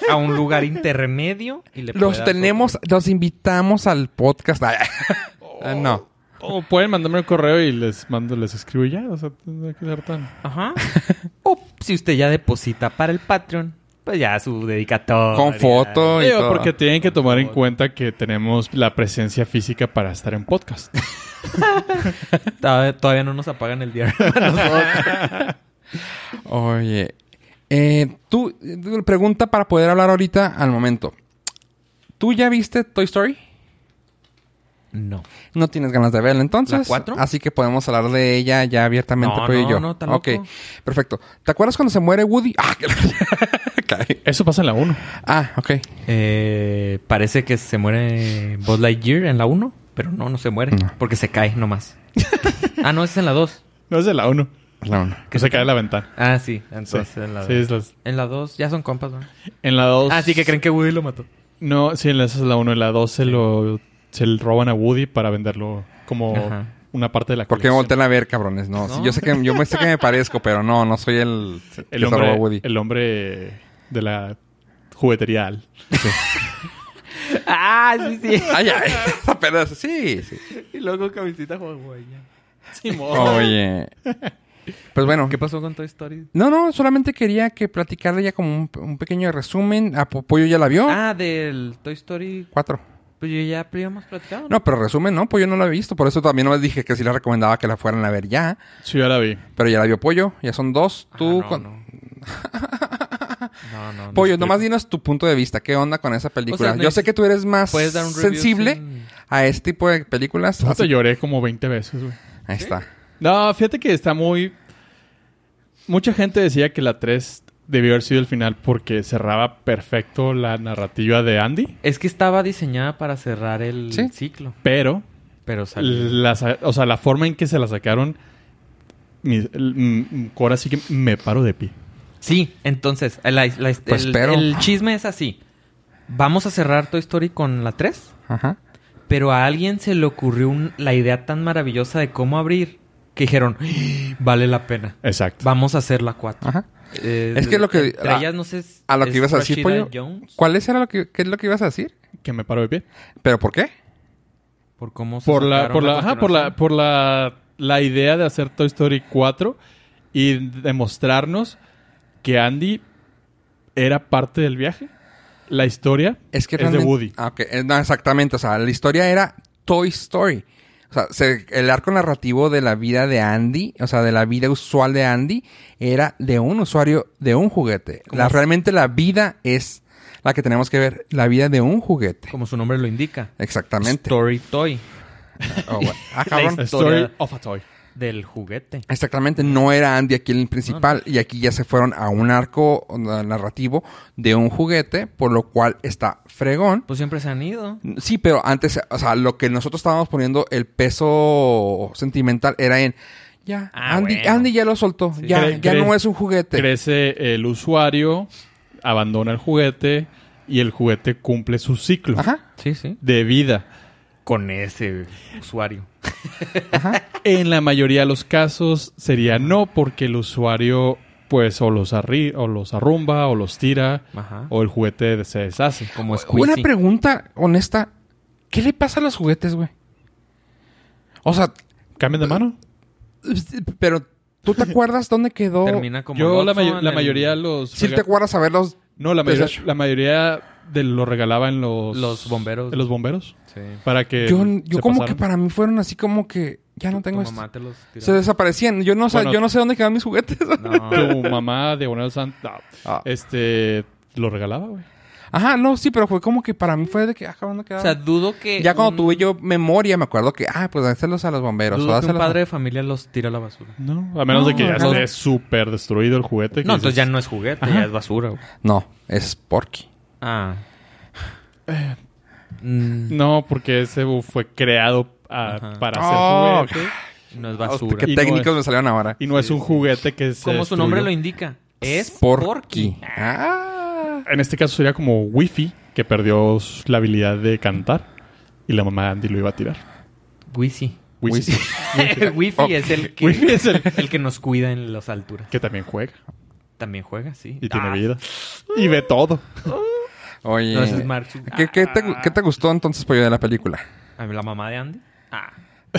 C: a un lugar intermedio y le puede
A: Los
C: dar su
A: tenemos, los invitamos al podcast. Ah, no.
B: O pueden mandarme un correo y les mando, les escribo y ya. O sea, no hay que ser tan.
C: autógrafo. Ajá. o si usted ya deposita para el Patreon, pues ya su dedicatoria.
A: Con foto y
B: Digo,
A: todo.
B: porque tienen que tomar en cuenta que tenemos la presencia física para estar en podcast.
C: Todavía todavía no nos apagan el diario.
A: Oye, eh, tú, eh, pregunta para poder hablar ahorita al momento. ¿Tú ya viste Toy Story?
C: no.
A: No tienes ganas de verla entonces.
C: ¿La cuatro?
A: Así que podemos hablar de ella ya abiertamente,
C: No,
A: Pollo y
C: no,
A: yo.
C: no, está
A: ok,
C: loco.
A: perfecto. ¿Te acuerdas cuando se muere Woody? Ah, que la- Caray.
B: Eso pasa en la 1.
A: ah ok.
C: Eh, parece que se muere Buzz Lightyear en la 1, pero no, no se muere.
A: No.
C: Porque se cae nomás. ah, no, es en la 2.
B: No es en la 1.
A: Es la una.
B: Que se cae la ventana.
C: Ah, sí.
B: Sí,
C: Entonces en la 2.
B: Sí, es las-
C: En la 2 ya son compas, ¿no?
B: en la 2.
C: Ah, sí, que creen que Woody lo mató.
B: No, sí, en la- esa es la 1. En la 2 se lo se le roban a Woody para venderlo como
C: Ajá.
B: una parte de la
A: ¿Por qué me
B: colección.
A: voltean a ver, cabrones? No, sí, yo sé que yo me sé que me parezco, pero no, no soy el, que
B: el
A: se robó
B: hombre,
A: a Woody.
B: el hombre de la juguetería Al.
C: Ah, sí, sí.
A: Ay, ay, apenas, sí, sí.
C: Y luego camisita hawaiana.
A: Oye. Pues bueno.
C: ¿Qué pasó con Toy Story?
A: No, no, solamente quería que platicarle ya como un, un pequeño resumen. Apoyo ya la vio.
C: Ah, del Toy Story.
A: Cuatro.
C: Pues yo ya habíamos platicado.
A: No, pero resumen, no, Pollo no la he visto. Por eso también no les dije que sí la recomendaba que la fueran a ver ya.
B: Sí, ya la vi.
A: Pero ya la vio Pollo, ya son dos.
C: Ah,
A: Tú
C: no,
A: con.
C: No, no. no, no.
A: Pollo, nomás dinos tu punto de vista. ¿Qué onda con esa película?
C: no
A: Yo
C: es-
A: sé que tú eres más
C: ¿Puedes dar un review
A: sensible
C: sin-
A: a este tipo de películas.
B: Puta,
A: Así-
B: lloré como 20 veces, güey.
A: Ahí está.
B: No, fíjate que está muy. Mucha gente decía que la 3 debió haber sido el final porque cerraba perfecto la narrativa de Andy,
C: Es que estaba diseñada para cerrar el
A: Sí.
C: ciclo.
B: pero
C: Pero salió.
B: la, sa- o sea, la forma en que se la sacaron, mi, el- mm, mm, ahora sí que me paro de pie.
C: Sí, entonces, la- la-
A: Pues
C: el,
A: espero.
C: el chisme es así. Vamos a cerrar Toy Story con la 3,
A: Ajá.
C: pero a alguien se le ocurrió un- la idea tan maravillosa de cómo abrir que dijeron, "Ah, vale la pena.
B: Exacto.
C: Vamos a hacer la 4.
A: Ajá. Ah, Es que lo que-
C: entre
A: a-
C: ellas, no sé... es-
A: A lo que
C: es
A: ibas a decir,
C: Rashida
A: Pollo.
C: Jones,
A: ¿Cuál es, era lo que, qué es lo que ibas a decir?
B: Que me paro de pie.
A: ¿Pero por qué?
C: por cómo se
B: Por la,
C: sacaron
B: por la, ajá, por la, por la, la idea de hacer Toy Story 4 y demostrarnos que Andy era parte del viaje. La historia
A: Es que
B: de
A: realmente-
B: Woody.
A: Ah, ok. Eh, no, exactamente. O sea, la historia era Toy Story. O sea, se- el arco narrativo de la vida de Andy, o sea, de la vida usual de Andy, era de un usuario de un juguete. La, realmente la vida es la que tenemos que ver, la vida de un juguete.
C: Como su nombre lo indica.
A: Exactamente.
C: Story Toy
A: Oh, bueno. Ah,
C: La
A: cabrón.
B: A
C: historia.
B: Story of a Toy.
C: del juguete.
A: Exactamente, no era Andy aquí el principal y aquí ya se fueron a un arco uh, narrativo de un juguete, por lo cual está fregón.
C: Pues siempre se han ido.
A: Sí, pero antes, o sea, lo que nosotros estábamos poniendo el peso sentimental era en ya,
C: Ah,
A: Andy,
C: bueno.
A: Andy ya lo soltó,
C: Sí.
A: ya,
B: Cre-
A: ya
B: cre-
A: no es un juguete.
B: Crece el usuario, abandona el juguete y el juguete cumple su ciclo
A: Ajá.
C: Sí, sí.
B: de vida.
C: Con ese usuario.
B: En la mayoría de los casos sería no porque el usuario pues o los, arri- o los arrumba o los tira
C: Ajá.
B: o el juguete se deshace.
C: Como Squeezy.
A: Una pregunta honesta, ¿qué le pasa a los juguetes, güey? O sea,
B: ¿Cambian de mano?
A: pero ¿tú te acuerdas dónde quedó?
C: Termina como
B: Yo la,
C: Lotso
B: mayo-
C: en
B: la
C: el-
B: mayoría de los...
A: Si
B: rega-
A: te acuerdas a verlos,
B: no, la mayoría,
A: Deshecho.
B: la mayoría de los regalaba en los...
C: Los bomberos.
B: en los bomberos.
C: Sí.
B: Para que...
A: yo, yo
B: se
A: como
B: pasaran.
A: que para mí fueron así como que ya Ah, no tengo
C: Tu
A: esto.
C: mamá te los tiró.
A: Se desaparecían. Yo no, sé-
B: Bueno,
A: yo no sé dónde quedan mis juguetes.
C: No.
B: Tu mamá, Diagonal Santa... no.
A: Ah.
B: Este... Lo regalaba, güey.
A: Ajá, no, sí, pero fue como que para mí fue de que, ah, cabrón, ¿dónde
C: O
A: quedaron?
C: sea, dudo que...
A: Ya cuando
C: un-
A: tuve yo memoria, me acuerdo que, ah, pues dáselos a los bomberos. o
C: Dudo que un
A: dáselos a-
C: padre de familia los tira a la basura.
B: No, a menos de que ya
C: no.
B: esté súper destruido el juguete. que
C: No, entonces
B: dices,
C: ya no es juguete,
B: Ajá.
C: ya es basura. güey.
A: No, es Porky.
C: Ah.
B: eh,
C: Mm,
B: no, porque ese bug fue creado ah,
C: Ajá.
B: para
A: Oh,
B: hacer juguete.
C: no es
A: Hostia,
C: basura.
A: Ah, ¿Qué
B: Y no
A: técnicos
B: es-
A: me salieron ahora?
B: Y no es un juguete que se
C: Como su nombre lo
B: destruyó.
C: indica. Es
A: Sporky.
C: Porky.
A: Ah.
B: En este caso sería como Wifi, que perdió s- la habilidad de cantar. Y la mamá de Andy lo iba a tirar.
C: Wisi.
B: Wifi.
C: El wifi es el que,
B: Wifi es el
C: el que nos cuida en las alturas.
B: que también juega.
C: También juega, sí.
B: Y tiene
C: Ah,
B: vida. Y ve todo.
A: Oye.
C: No, ese es Mark.
A: ¿Qué, qué te, gu- qué te gustó entonces, Pollo, de la película?
C: A mí la mamá de Andy. Ah.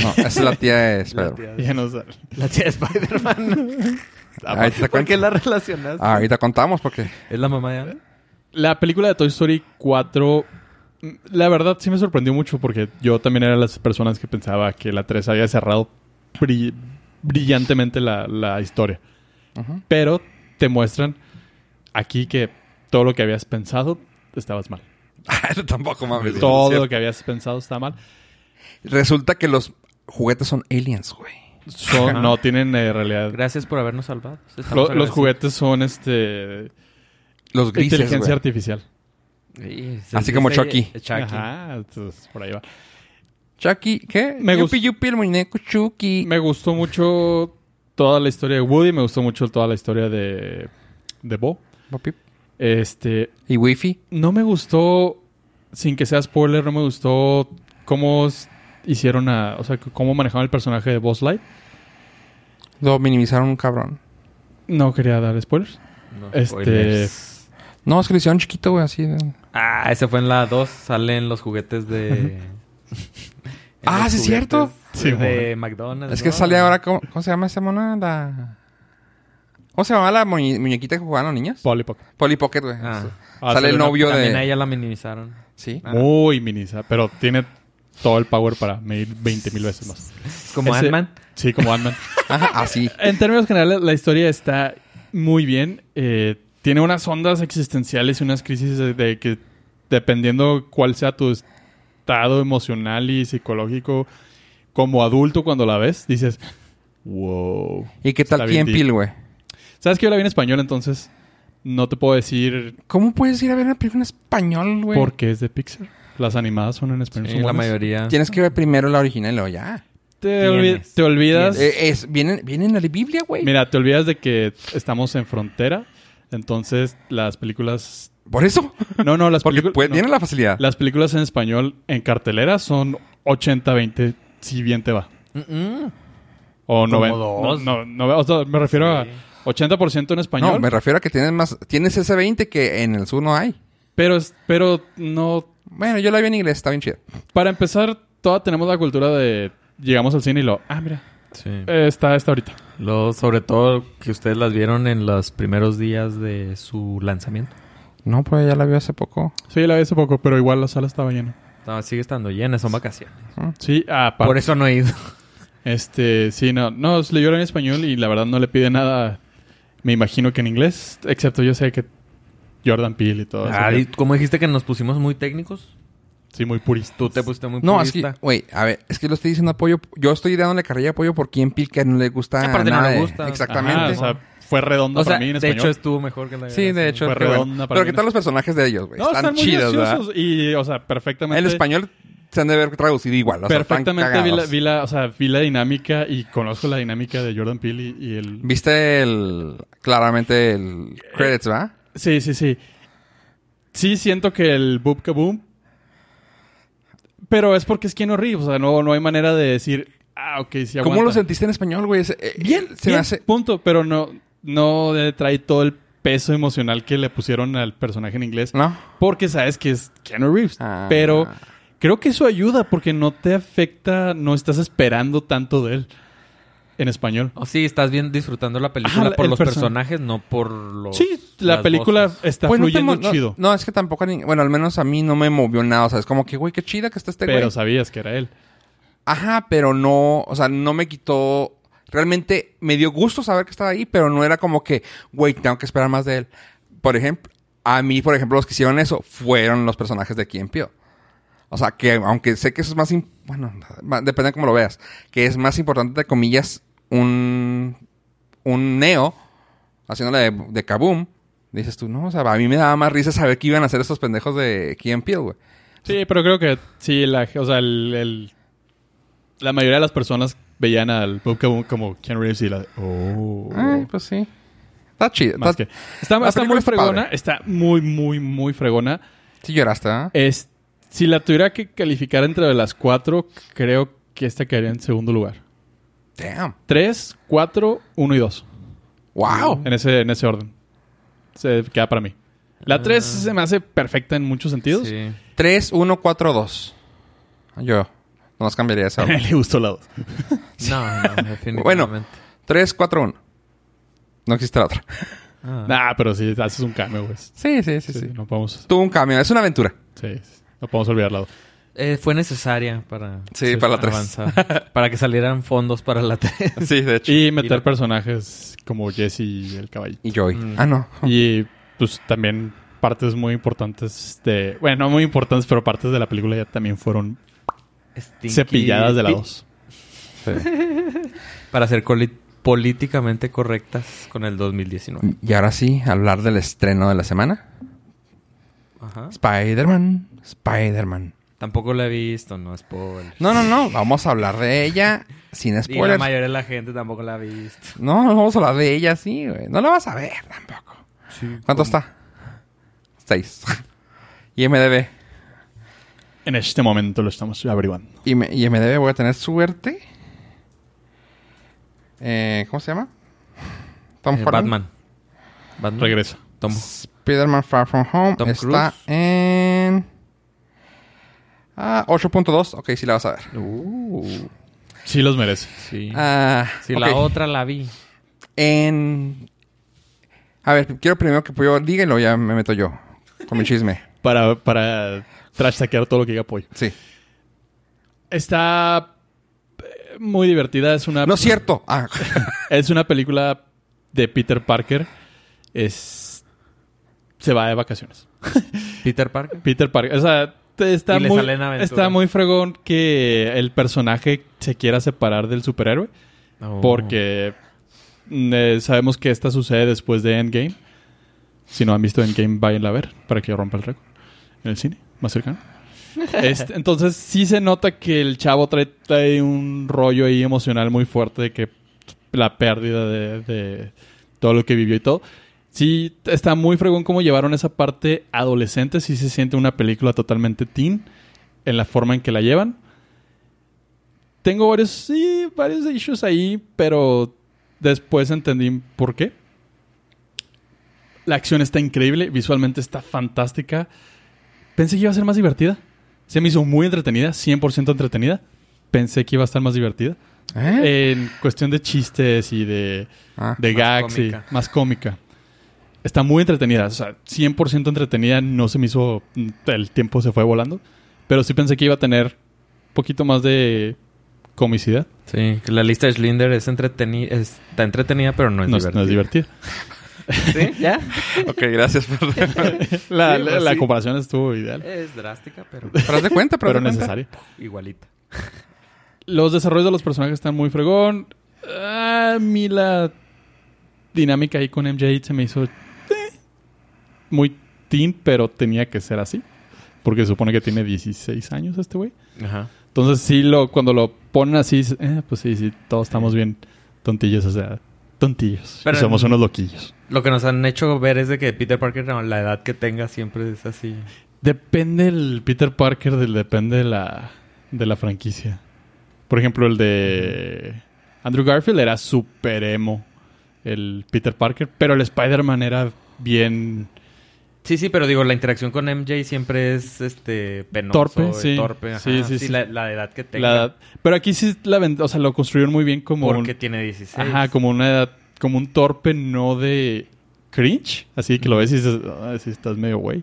A: No, esa es la tía de Spider-Man.
B: Ya no sale.
C: La tía de Spider-Man.
A: Ahí te
C: ¿Por
A: cuento.
C: qué la relacionaste?
A: Ah, ahorita contamos porque...
C: ¿Es la mamá de Andy?
B: La película de Toy Story 4, mm, la verdad sí me sorprendió mucho porque yo también era de las personas que pensaba que la 3 había cerrado bri- brillantemente la, la historia.
A: Ujú.
B: Pero te muestran aquí que todo lo que habías pensado estabas mal.
A: Eso tampoco, mames.
B: todo
A: Ah, Cierto.
B: lo que habías pensado está mal.
A: Resulta que los juguetes son aliens, güey.
B: Son- no tienen eh, realidad.
C: Gracias por habernos salvado. Estamos
B: Lo- los
C: agradecidos.
B: juguetes son este
A: Los grises,
B: inteligencia
A: güey.
B: artificial.
C: Sí, es
A: Así
C: el
A: como
C: dice-
A: Chucky.
C: Chucky.
B: Ajá, entonces, por ahí va.
A: Chucky, ¿qué?
B: Me
A: yupi,
B: gust-
A: yupi, el muñeco Chucky.
B: Me gustó mucho toda la historia de Woody, me gustó mucho toda la historia de, de Bo.
A: Papi.
B: Este,
A: Y Wifi.
B: no me gustó, sin que sea spoiler, no me gustó cómo s- hicieron a, o sea, c- cómo manejaban el personaje de Boss Light.
A: Lo minimizaron un cabrón.
B: No quería dar spoilers.
C: No,
B: Este-
C: spoilers.
A: No, es que lo hicieron chiquito, güey, así. de-
C: Ah, ese fue en la 2. Salen los juguetes de. en
A: Ah,
C: los
A: sí, es cierto.
C: juguetes
B: Sí,
C: de McDonald's.
A: Es que
C: ¿no?
A: sale ahora... ¿Cómo, cómo se llama esa mona? La... ¿Cómo se llamaba la muñe- muñequita que jugaban los niños?
B: Polly Pocket.
A: Polly Pocket, güey.
C: Ah.
B: Ah,
A: sale el
B: una-
A: novio
C: También a
A: de...
C: ella la minimizaron.
A: Sí.
C: Ah.
B: Muy minisa, pero tiene todo el power para medir 20 mil veces más.
C: Es como
B: Ese-
C: Ant-Man.
B: Sí, como Ant-Man.
A: Ajá, así.
B: En términos generales, la historia está muy bien. Eh, tiene unas ondas existenciales y unas crisis de, de que, dependiendo cuál sea tu estado emocional y psicológico como adulto cuando la ves, dices, wow.
A: ¿Y qué
B: Está
A: tal
B: bien
A: Key Pil, güey?
B: Sabes que yo la vi en español, entonces no te puedo decir
A: ¿Cómo puedes ir a ver una película en español, güey?
B: por qué es de Pixar. Las animadas son en español.
C: Sí,
B: son
C: la
B: buenas.
C: mayoría.
A: Tienes que ver primero la original y luego ya.
B: Te, olvi-
C: Tienes.
B: te olvidas.
A: Eh, es, vienen, vienen a la Biblia,
C: Eh,
A: güey.
B: Mira, te olvidas de que estamos en frontera, entonces las películas...
A: Por eso.
B: No, no, las
A: Porque
B: películas...
A: pues,
B: no.
A: tienen la facilidad.
B: Las películas en español en cartelera son 80-20, si bien te va.
C: Mm, mm.
B: O
C: Como
B: 90. No,
C: dos.
B: no, no, o sea, me refiero
C: Sí.
B: a 80% en español,
A: No, me refiero a que tienes más. Tienes ese 20 que en el sur no hay.
B: pero, es- pero no...
A: Bueno, yo la vi en inglés, está bien chida.
B: Para empezar, toda tenemos la cultura de... Llegamos al cine y lo... Ah, mira,
C: Sí.
B: eh, está, está ahorita.
C: Lo, sobre todo que ustedes las vieron en los primeros días de su lanzamiento.
A: No, pues ya la vi hace poco.
B: Sí, la vi hace poco, pero igual la sala estaba llena.
C: No, sigue estando llena, son vacaciones.
B: Sí, aparte.
C: Por eso no he ido.
B: Este, sí, no, no, le lloran en español y la verdad no le pide nada, me imagino que en inglés, excepto yo sé que Jordan Peele y todo eso.
C: Ah,
B: que-
C: di- ¿Cómo dijiste que nos pusimos muy técnicos?
B: Sí, muy purista.
C: Tú te pusiste muy
A: No, es
C: purista.
A: que, güey, a ver, es que lo estoy diciendo apoyo. Yo estoy dándole carrilla de apoyo por Key Pil que no le
B: Ah,
A: gusta.
C: Aparte, no
A: nada
C: le
A: de-
C: gusta.
A: Exactamente.
B: Ajá, o sea, fue redonda
C: O sea,
B: para mí en
C: de
B: español.
C: hecho estuvo mejor que la
A: sí, de hecho.
B: Fue
A: qué bueno.
B: redonda para
A: Pero
B: mí.
A: ¿qué tal los personajes de ellos, güey?
B: no, están,
A: están,
B: muy
A: chidos, ¿verdad?
B: graciosos y, o sea, perfectamente.
A: El español se han de ver traducido igual. O sea, están
B: perfectamente vi la,
A: cagados.
B: vi la- o sea, vi la dinámica y conozco la dinámica de Jordan Peele y, y el...
A: Viste el. Claramente el.
B: Eh,
A: Credits, ¿verdad?
B: Sí, sí, sí. Sí siento que el Boop Kaboom... Pero es porque es Keanu Reeves, o sea, no, no hay manera de decir... Ah, ok, sí aguanta.
A: ¿Cómo lo sentiste en español, güey? Ese- eh,
B: Bien,
A: Se me
B: bien,
A: hace.
B: punto. Pero no, no le trae todo el peso emocional que le pusieron al personaje en inglés.
A: ¿No?
B: Porque sabes que es Keanu Reeves.
A: Ah.
B: Pero creo que eso ayuda porque no te afecta, no estás esperando tanto de él en
A: Oh,
B: español.
C: O sí, estás bien disfrutando la película
B: Ah, la-
C: por
B: el
C: los
B: person-
C: personajes, no por los.
B: Sí, la
C: las
B: película
C: voces.
B: está
A: Pues no te
B: fluyendo
A: mo- no-
B: chido.
A: No, es que tampoco. ni- bueno, al menos a mí no me movió nada. O sea, es como que, güey, qué chida que está este
B: pero
A: güey.
B: sabías que era él.
A: Ajá, pero no. O sea, no me quitó. Realmente me dio gusto saber que estaba ahí, pero no era como que, güey, tengo que esperar más de él. Por ejemplo, a mí, por ejemplo, los que hicieron eso fueron los personajes de Quien Pio. O sea, que aunque sé que eso es más. im- Bueno, ma- depende de cómo lo veas. Que es más importante, de comillas, un. Un Neo haciéndole de, de kaboom. Dices tú, no, o sea, a mí me daba más risa saber que iban a hacer estos pendejos de Key and Peele, güey.
B: Sí, pero creo que sí, la, o sea, el, el- la mayoría de las personas veían al Bob como, como Ken Reeves y la... Oh.
A: Eh, pues sí. Está chido.
B: Más
A: está-
B: que- está
A: la
B: está
A: película
B: muy
A: está
B: fregona,
A: padre.
B: está muy, muy, muy fregona.
A: Sí lloraste, ¿ah? ¿verdad?
B: Es, si la tuviera que calificar entre las cuatro, creo que esta quedaría en segundo lugar.
A: Damn.
B: Tres, cuatro, uno y dos.
A: Wow.
B: En ese, en ese orden. Se queda para mí. La tres se me hace perfecta en muchos sentidos.
C: Ah. Sí.
A: 3, 1, 4, 2. Yo. Nomás cambiaría esa.
B: Le gustó la dos.
C: No, no, definitivamente.
A: Bueno. 3, 4, 1. No existe la otra.
C: Ah.
B: Nah, pero sí, haces un cambio, güey.
A: Sí, sí, sí,
B: Sí,
A: sí.
B: No podemos,
A: Tuvo un cambio. Es una aventura.
B: sí, sí, no podemos olvidarla. dos.
C: Eh, fue necesaria para,
A: Sí, para la tres.
C: avanzar. para que salieran fondos para la 3.
A: Sí, de hecho.
B: Y meter
C: la-
B: personajes como Jesse y el caballito.
A: Y Joy.
C: Mm.
A: Ah, no.
B: Y pues también partes muy importantes de... Bueno, no muy importantes, pero partes de la película ya también fueron cepilladas de la 2.
C: Para ser coli- políticamente correctas con el
B: Mm.
C: 2019.
A: Y ahora sí, hablar del estreno de la semana.
C: Ajá.
A: Spider-Man. Spider-Man.
C: Tampoco la he visto, no spoiler.
A: No, no, no. Vamos a hablar de ella sin
C: Y la
A: spoilers.
C: mayoría de la gente tampoco la ha visto.
A: No, no vamos a hablar de ella, sí, güey. No la vas a ver tampoco. ¿Cuánto está? Seis. IMDB.
B: En este momento lo estamos averiguando.
A: Y me- IMDB voy a tener suerte. Eh, ¿Cómo se llama? Tom
C: Eh,
A: Holland.
C: Batman. Batman.
B: Regresa.
C: Tomo.
A: Spider-Man Far From Home
C: Tom
A: está
C: Cruise.
A: en... Ah, 8.2. Ok, sí la vas a ver.
B: Sí los merece.
C: sí.
A: Ah,
C: Sí,
A: ok.
C: la otra la vi.
A: En... A ver, quiero primero que Pollo diga y luego ya me meto yo. Con mi chisme.
B: Para, para trash taquear todo lo que diga Pollo.
A: Sí.
B: Está eh, muy divertida. Es una...
A: No es cierto. Ah.
B: Es una película de Peter Parker. Es. Se va de vacaciones.
C: Peter Parker.
B: Peter Parker. O sea, te- está,
C: Y le
B: muy,
C: salen aventuras.
B: está muy fregón que el personaje se quiera separar del superhéroe. Oh.
C: Oh.
B: Porque mm, eh, sabemos que esta sucede después de Endgame. Si no han visto Endgame, váyanla a ver para que yo rompa el récord. En el cine, más cercano. Este, entonces sí se nota que el chavo trae, trae un rollo ahí emocional muy fuerte de que la pérdida de, de todo lo que vivió y todo. Sí, está muy fregón cómo llevaron esa parte adolescente. Sí se siente una película totalmente teen en la forma en que la llevan. Tengo varios, sí, varios issues ahí, pero después entendí por qué. La acción está increíble, visualmente está fantástica. Pensé que iba a ser más divertida. Se me hizo muy entretenida, 100% entretenida. Pensé que iba a estar más divertida.
A: ¿Eh?
B: En cuestión de chistes y de,
A: Ah.
B: de
C: más
B: gags,
C: cómica.
B: y más cómica. Está muy entretenida, o sea, 100% entretenida. No se me hizo. El tiempo se fue volando. Pero sí pensé que iba a tener un poquito más de comicidad.
C: Sí, que la lista de Schlinder es entreteni- está entretenida, pero no es
B: No es,
C: divertida.
B: no es divertida.
C: ¿Sí? ¿Ya?
A: Ok, gracias por...
B: La,
C: Sí,
B: la-
C: pues
B: la
C: sí.
B: comparación estuvo ideal,
C: Es drástica, pero
A: Pero haz de cuenta, pero,
B: pero
A: haz de cuenta.
B: necesaria.
C: igualita.
B: Los desarrollos de los personajes están muy fregón. A mí la dinámica ahí con MJ se me hizo eh, muy teen, pero tenía que ser así. Porque se supone que tiene 16 años este güey.
C: Ajá.
B: Entonces sí, lo, cuando lo ponen así, dices, eh, pues sí, sí, todos estamos bien tontillos, o sea, tontillos. Y
C: Pero-
B: somos unos loquillos.
C: Lo que nos han hecho ver es de que Peter Parker, no, la edad que tenga, siempre es así.
B: Depende el Peter Parker, del, depende de la, de la franquicia. Por ejemplo, el de Andrew Garfield era super emo, el Peter Parker, pero el Spider-Man era bien...
C: Sí, sí, pero digo, la interacción con MJ siempre es este penoso,
B: Torpe,
C: eh,
B: sí.
C: torpe, ajá.
B: Sí,
C: Sí,
B: sí, sí.
C: La, la edad que tenga.
B: la edad- Pero aquí sí, la, ven- o sea, lo construyeron muy bien como... un-
C: porque tiene 16.
B: Ajá, como una edad, como un torpe no de cringe, así que lo ves y dices, ah, sí estás medio güey.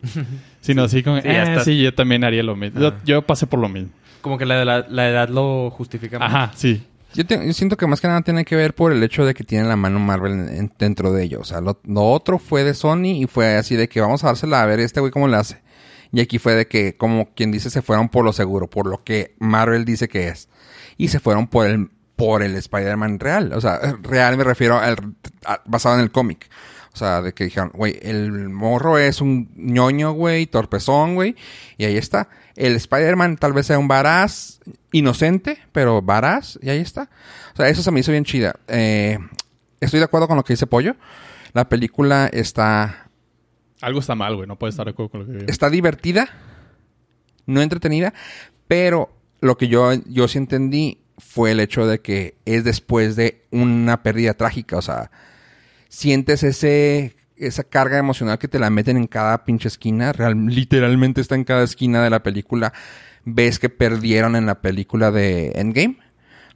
B: Sino así como,
C: Sí, ya
B: "Ah,
C: estás- Ah.
B: sí, yo también haría lo mismo. Yo,
C: Ajá.
B: yo pasé por lo mismo.
C: Como que la, la- la edad lo justifica más.
B: Ajá, sí.
A: Yo, te- yo siento que más que nada tiene que ver por el hecho de que tienen la mano Marvel en- en- dentro de ellos. O sea, lo, lo otro fue de Sony y fue así de que vamos a dársela a ver este güey cómo le hace. Y aquí fue de que, como quien dice, se fueron por lo seguro, por lo que Marvel dice que es. Y se fueron por el, por el Spider-Man real. O sea, real me refiero al a- basado en el cómic. O sea, de que dijeron, güey, el morro es un ñoño, güey, torpezón, güey. Y ahí está. El Spider-Man tal vez sea un varaz inocente, pero varaz, y ahí está. O sea, eso se me hizo bien chida. Eh, estoy de acuerdo con lo que dice Pollo. La película está,
B: Algo está mal, güey. No puedes estar de acuerdo con lo que digo.
A: está divertida, no entretenida, pero lo que yo, yo sí entendí fue el hecho de que es después de una pérdida trágica. O sea, sientes ese esa carga emocional que te la meten en cada pinche esquina, real- literalmente está en cada esquina de la película. Ves que perdieron en la película de Endgame.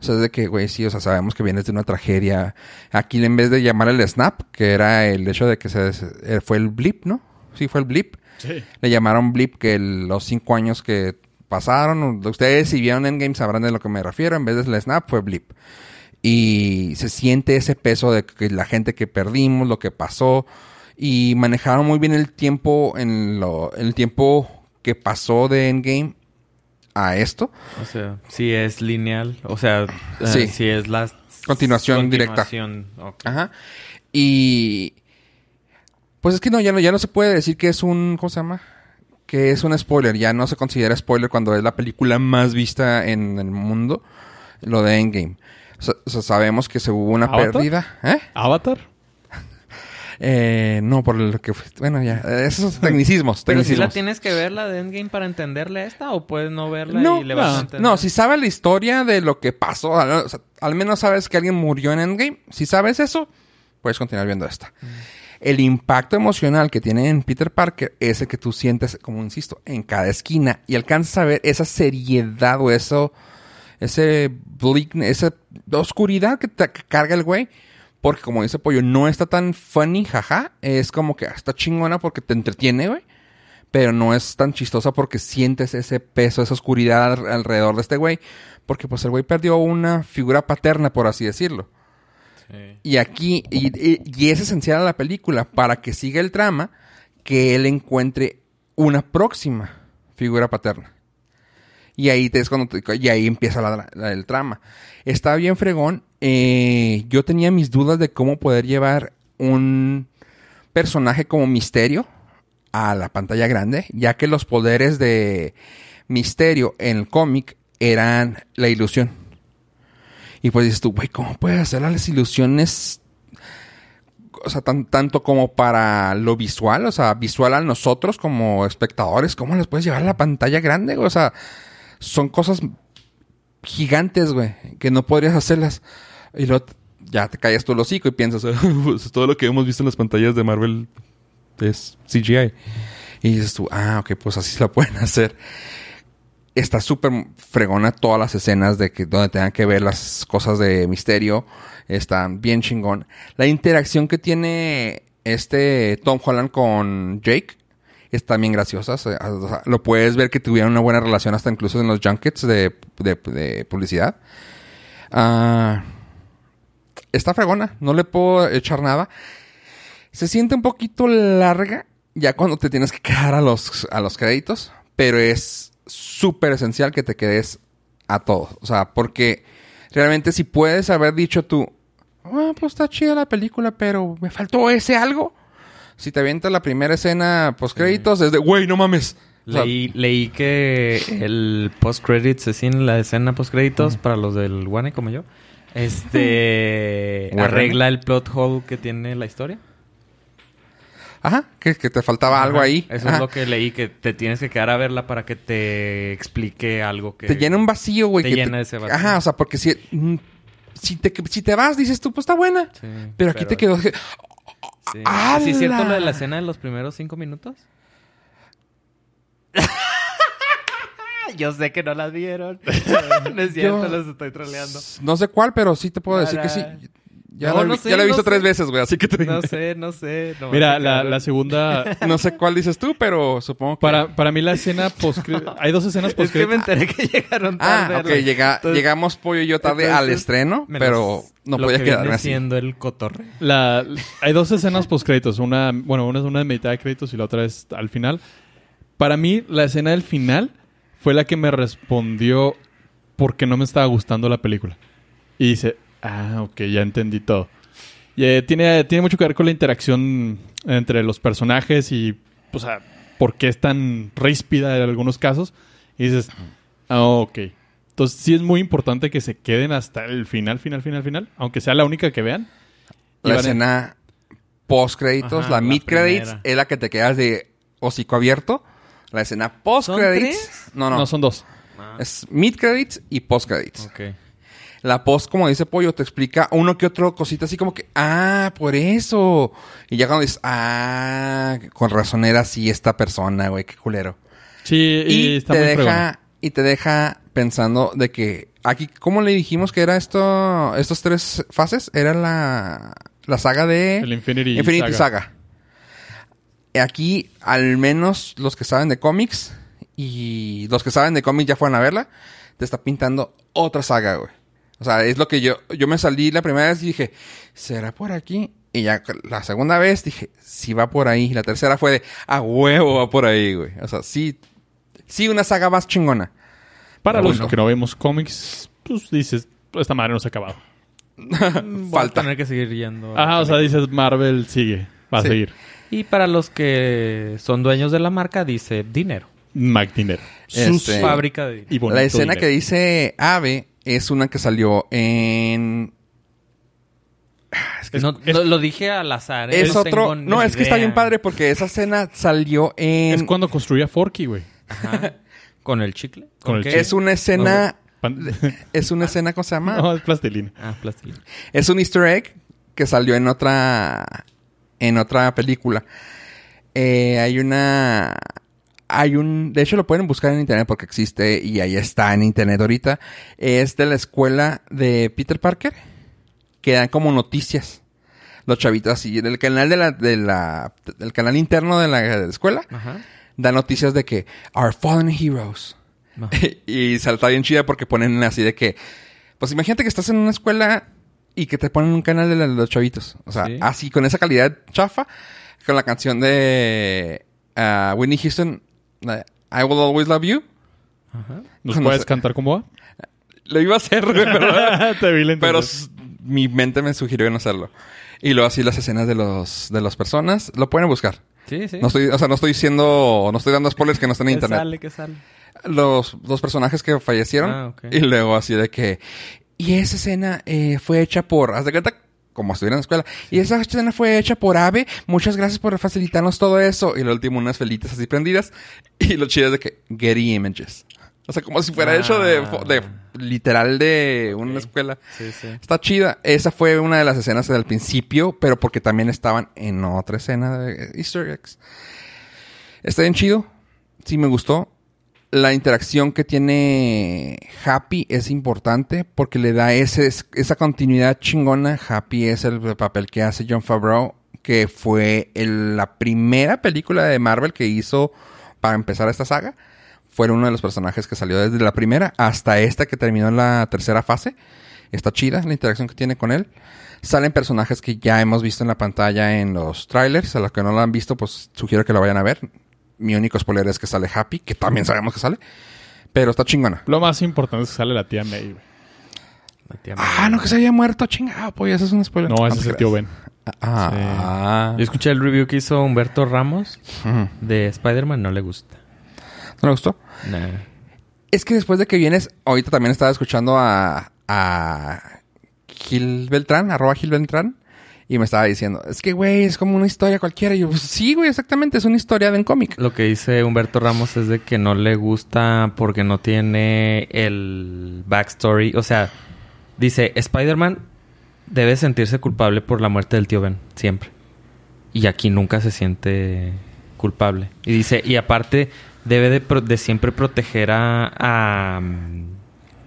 A: O sea, es de que, güey, sí, o sea, sabemos que vienes de una tragedia. Aquí en vez de llamar el snap, que era el hecho de que se des- eh, fue el blip, ¿no? Sí, fue el blip.
B: Sí.
A: Le llamaron blip que el- los cinco años que pasaron, ustedes si vieron Endgame sabrán de lo que me refiero, en vez de la snap fue blip. Y se siente ese peso de que la gente que perdimos, lo que pasó, y manejaron muy bien el tiempo, en lo, el tiempo que pasó de Endgame a esto.
C: O sea, si es lineal. O sea, eh,
A: Sí.
C: si es la
A: Continuación directa.
C: continuación, ok.
A: Ajá. Y. Pues es que no, ya no, ya no se puede decir que es un. ¿Cómo se llama? Que es un spoiler. Ya no se considera spoiler cuando es la película más vista en el mundo. Lo de Endgame. O sea, o sea, sabemos que se hubo una
B: ¿Avatar?
A: pérdida. ¿Eh?
B: ¿Avatar?
A: Eh, no, por lo que. fue- Bueno, ya. eh, Esos tecnicismos.
C: Pero si la
A: tecnicismos.
C: tienes que ver la de Endgame para entenderle esta o puedes no verla
A: No,
C: y le vas a
B: no,
C: entender.
A: No, si sabes la historia de lo que pasó, al, o sea, al menos sabes que alguien murió en Endgame. Si sabes eso, puedes continuar viendo esta.
C: Mm.
A: El impacto emocional que tiene en Peter Parker es el que tú sientes, como insisto, en cada esquina y alcanzas a ver esa seriedad o eso, ese bleak, esa oscuridad que te que carga el güey. Porque como dice Pollo, no está tan funny, jaja. Es como que ah, está chingona porque te entretiene, güey pero no es tan chistosa porque sientes ese peso, esa oscuridad al- alrededor de este güey, porque pues el güey perdió una figura paterna, por así decirlo.
C: Sí.
A: Y aquí, y, y- y es esencial a la película para que siga el trama, que él encuentre una próxima figura paterna. Y ahí te- es cuando te- y ahí empieza la, dra- la- el trama. Está bien fregón. eh, yo tenía mis dudas de cómo poder llevar un personaje como Misterio a la pantalla grande, ya que los poderes de Misterio en el cómic eran la ilusión. Y pues dices tú, güey, ¿cómo puedes hacer las ilusiones? O sea, tan- tanto como para lo visual, o sea, visual a nosotros como espectadores, ¿cómo las puedes llevar a la pantalla grande? güey? O sea, son cosas gigantes, güey, que no podrías hacerlas. Y luego t- ya te callas tú el hocico y piensas, pues, todo lo que hemos visto en las pantallas de Marvel es CGI. Y dices tú, ah, ok, pues así se la pueden hacer. Está súper fregona todas las escenas de que donde tengan que ver las cosas de misterio. Están bien chingón. La interacción que tiene este Tom Holland con Jake están bien graciosas. Eh, o sea, Lo puedes ver que tuvieron una buena relación hasta incluso en los junkets de, de- de publicidad. Ah, está fregona, no le puedo echar nada. Se siente un poquito larga ya cuando te tienes que quedar a los, a los créditos, pero es súper esencial que te quedes a todo. O sea, porque realmente si puedes haber dicho tú, ah, pues está chida la película, pero me faltó ese algo. Si te avientas la primera escena post créditos, es de, güey, no mames. O sea,
C: Leí, leí que el post-credits, es en la escena post-créditos, para los del One como yo, este
A: Guane.
C: arregla el plot hole que tiene la historia.
A: Ajá, que, que te faltaba Ah, algo
C: Ajá.
A: ahí.
C: Eso
A: Ajá.
C: es lo que leí, que te tienes que quedar a verla para que te explique algo que...
A: Te llena un vacío, güey.
C: Te
A: que
C: llena ese vacío.
A: Ajá, o sea, porque si, mm, si, te, si te vas, dices tú, pues está buena.
C: Sí,
A: Pero aquí te quedó.
C: Sí.
A: ¡Hala!
C: ¿Sí es cierto lo de la escena de los primeros cinco minutos? Yo sé que no las vieron. no es cierto,
A: Yo-
C: los estoy troleando.
A: No sé cuál, pero sí te puedo decir que
C: Para-
A: sí. Ya,
C: No,
A: la, he
C: no
A: vi-
C: sé,
A: ya la he
C: no
A: visto
C: sé.
A: tres veces, güey, así que te-
C: No sé, no sé. nomás
B: Mira,
C: me
B: la,
C: quedo-
B: la segunda...
A: no sé cuál dices tú, pero supongo que.
B: Para, para mí la escena post Hay dos escenas
C: Es
B: post
C: que me enteré que llegaron
A: Ah,
C: tarde.
A: ok,
C: güey.
A: llega,
C: Entonces,
A: llegamos Pollo y yo tarde al
C: entonces,
A: estreno,
C: menos
A: pero no
C: lo
A: podía
C: que
A: quedarme
C: viene
A: así.
C: siendo el cotorre.
B: La, hay dos escenas post créditos, una, bueno, una es una de mitad de créditos y la otra es al final. Para mí, la escena del final fue la que me respondió porque no me estaba gustando la película. Y dice, ah, ok, ya entendí todo. Y, eh, tiene, tiene mucho que ver con la interacción entre los personajes y, o sea, por qué es tan ríspida en algunos casos. Y dices, ah, ok. Entonces sí es muy importante que se queden hasta el final, final, final, final. Aunque sea la única que vean. Y
A: La
B: van en-
A: escena post créditos,
C: Ajá,
A: la
C: la
A: mid créditos
C: primera.
A: es la que te quedas de hocico abierto. La escena post créditos, no, no,
B: No, son dos.
A: es mid credits y post credits.
C: Ok.
A: La post, como dice Pollo, te explica uno que otro cosita así como que, ah, por eso. Y ya cuando dices, ah, con razón era así esta persona, güey, qué culero.
B: Sí, y,
A: Y,
B: está
A: te
B: muy
A: deja,
B: fregona.
A: y te deja pensando de que aquí, ¿cómo le dijimos que era esto, estos tres fases? Era la, la saga de
B: El Infinity
A: Saga. Aquí, al menos los que saben de cómics y los que saben de cómics ya fueron a verla, te está pintando otra saga, güey. O sea, es lo que yo, yo me salí la primera vez y dije, ¿será por aquí? Y ya la segunda vez dije, sí va por ahí. La tercera fue de, a huevo va por ahí, güey. O sea, sí, sí una saga más chingona.
B: Para los
A: Bueno.
B: que no vemos cómics, pues dices, esta madre no se ha acabado.
A: Falta.
C: Voy a tener que seguir yendo.
B: Ajá, o sea, dices, Marvel sigue, va
A: Sí.
B: a seguir.
C: Y para los que son dueños de la marca, dice dinero.
B: Mac Dinero.
A: Este-
C: Fábrica de dinero.
B: Y bonito
A: la escena
B: dinero.
A: que dice Ave es una que salió en...
C: No, lo, lo dije al azar. ¿eh?
A: Es
C: No
A: otro...
C: tengo
A: No,
C: ni
A: es que está
C: idea.
A: bien padre porque esa escena salió en...
B: Es cuando construía Forky, güey.
C: Ajá. ¿Con el chicle?
B: Con el
C: qué?
B: chicle.
A: Es una escena.
B: Pan-
A: Es una escena, ¿cómo se llama?
B: no, es plastilina.
C: Ah, plástico.
A: Es un easter egg que salió en otra. En otra película. Eh, hay una. Hay un. De hecho, lo pueden buscar en internet porque existe y ahí está en internet ahorita. Es de la escuela de Peter Parker. Que dan como noticias. Los chavitos así. En el canal de la. De la el canal interno de la, de la escuela.
C: Ajá.
A: Dan noticias de que. Our fallen heroes.
C: No.
A: y salta bien chida porque ponen así de que. Pues imagínate que estás en una escuela y que te ponen un canal de la- los chavitos. O sea,
C: Sí.
A: así, con esa calidad chafa, con la canción de ah, Whitney Houston, la de I Will Always Love You.
C: Ajá.
B: ¿Nos
A: No
B: puedes
A: sé.
B: cantar como va?
A: Lo iba a hacer, güey, pero,
B: Te vi la
A: pero
B: intención.
A: s- mi mente me sugirió no hacerlo. Y luego así las escenas de los de las personas. Lo pueden buscar.
C: Sí, sí.
A: No estoy, o sea, no estoy diciendo, no estoy dando spoilers que no están en
C: ¿Qué
A: internet.
C: sale? ¿Qué sale?
A: los, los personajes que fallecieron.
C: Ah, ok.
A: Y luego así de que... Y esa escena eh, fue hecha por... Haz de cuenta como estuviera en la escuela. Y esa escena fue hecha por Ave. Muchas gracias por facilitarnos todo eso. Y lo último, unas velitas así prendidas. Y lo chido es de que... Getty Images. O sea, como si fuera
C: Ah.
A: hecho de, fo- de... Literal de una escuela.
C: Sí, sí.
A: Está chida. Esa fue una de las escenas del principio, pero porque también estaban en otra escena de Easter eggs. Está bien chido. Sí, me gustó. La interacción que tiene Happy es importante porque le da ese, esa continuidad chingona. Happy es el papel que hace John Favreau, que fue el- la primera película de Marvel que hizo para empezar esta saga. Fue uno de los personajes que salió desde la primera hasta esta que terminó en la tercera fase. Está chida la interacción que tiene con él. Salen personajes que ya hemos visto en la pantalla en los trailers. A los que no lo han visto, pues sugiero que lo vayan a ver. Mi único spoiler es que sale Happy, que también sabemos que sale. Pero está chingona.
B: Lo más importante es que sale la tía May, güey.
C: La tía
A: Ah, no, que se había muerto, chingado, pues ese es un spoiler.
B: No,
A: Ah,
B: ese es
A: te
B: el tío
A: creas.
B: Ben.
A: Ah,
C: Yo escuché el review que hizo Humberto Ramos
A: Ujú.
C: de Spider-Man. No le gusta.
A: ¿No le gustó?
C: Nada.
A: Es que después de que vienes, ahorita también estaba escuchando a, a Gil Beltrán, arroba Gil Beltrán, y me estaba diciendo, es que, güey, es como una historia cualquiera. Y yo, pues, sí, güey, exactamente, es una historia de un cómic.
C: Lo que dice Humberto Ramos es de que no le gusta porque no tiene el backstory. O sea, dice, Spider-Man debe sentirse culpable por la muerte del tío Ben, siempre. Y aquí nunca se siente culpable. Y dice, y aparte debe de, pro- de siempre proteger a, a... mm,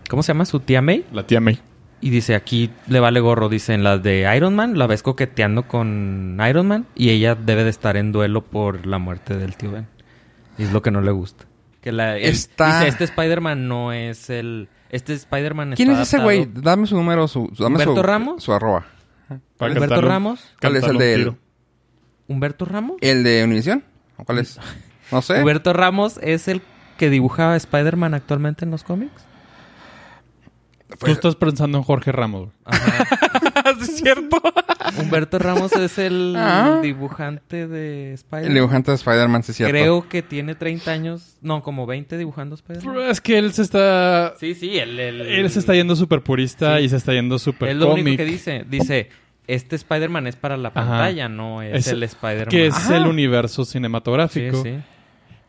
C: ¿Cómo se llama? ¿Su tía May?
B: La tía May.
C: Y dice, aquí le vale gorro, dice, en la de Iron Man, la ves coqueteando con Iron Man y ella debe de estar en duelo por la muerte del tío Ben. Y es lo que no le gusta. Que la, él-
A: Está-
C: Dice, este Spider-Man no es el... Este Spider-Man está
A: ¿Quién es ese
C: adaptado-
A: güey? Dame su número, su, su- dame su-
C: ¿Humberto Ramos?
A: Su arroba.
B: Para
C: ¿Humberto
B: cantarle un-
C: Ramos?
A: ¿Cuál es el
B: cantarle un
A: de él?
B: tiro.
C: ¿Humberto Ramos?
A: ¿El de Univision? ¿O cuál es? No sé.
C: ¿Humberto Ramos es el que dibuja a Spider-Man actualmente en los cómics?
B: Tú estás pensando en Jorge Ramos, güey.
C: Ajá.
A: no es cierto.
C: Humberto Ramos es el
A: Ah.
C: dibujante de
A: El
C: Spider-Man.
A: dibujante de Spider-Man, sí es cierto.
C: Creo que tiene 30 años, no, como 20 dibujando Spider-Man.
B: Es que él se está.
C: Sí, sí, él, él,
B: Él se está yendo súper purista y se está yendo súper
C: Es lo único
B: cómic,
C: que dice. Dice, este Spider-Man es para la pantalla, no
B: Es-
C: es, el Spider-Man. Ah,
B: que es
A: Ajá.
B: el universo
C: Sí,
B: cinematográfico.
C: sí.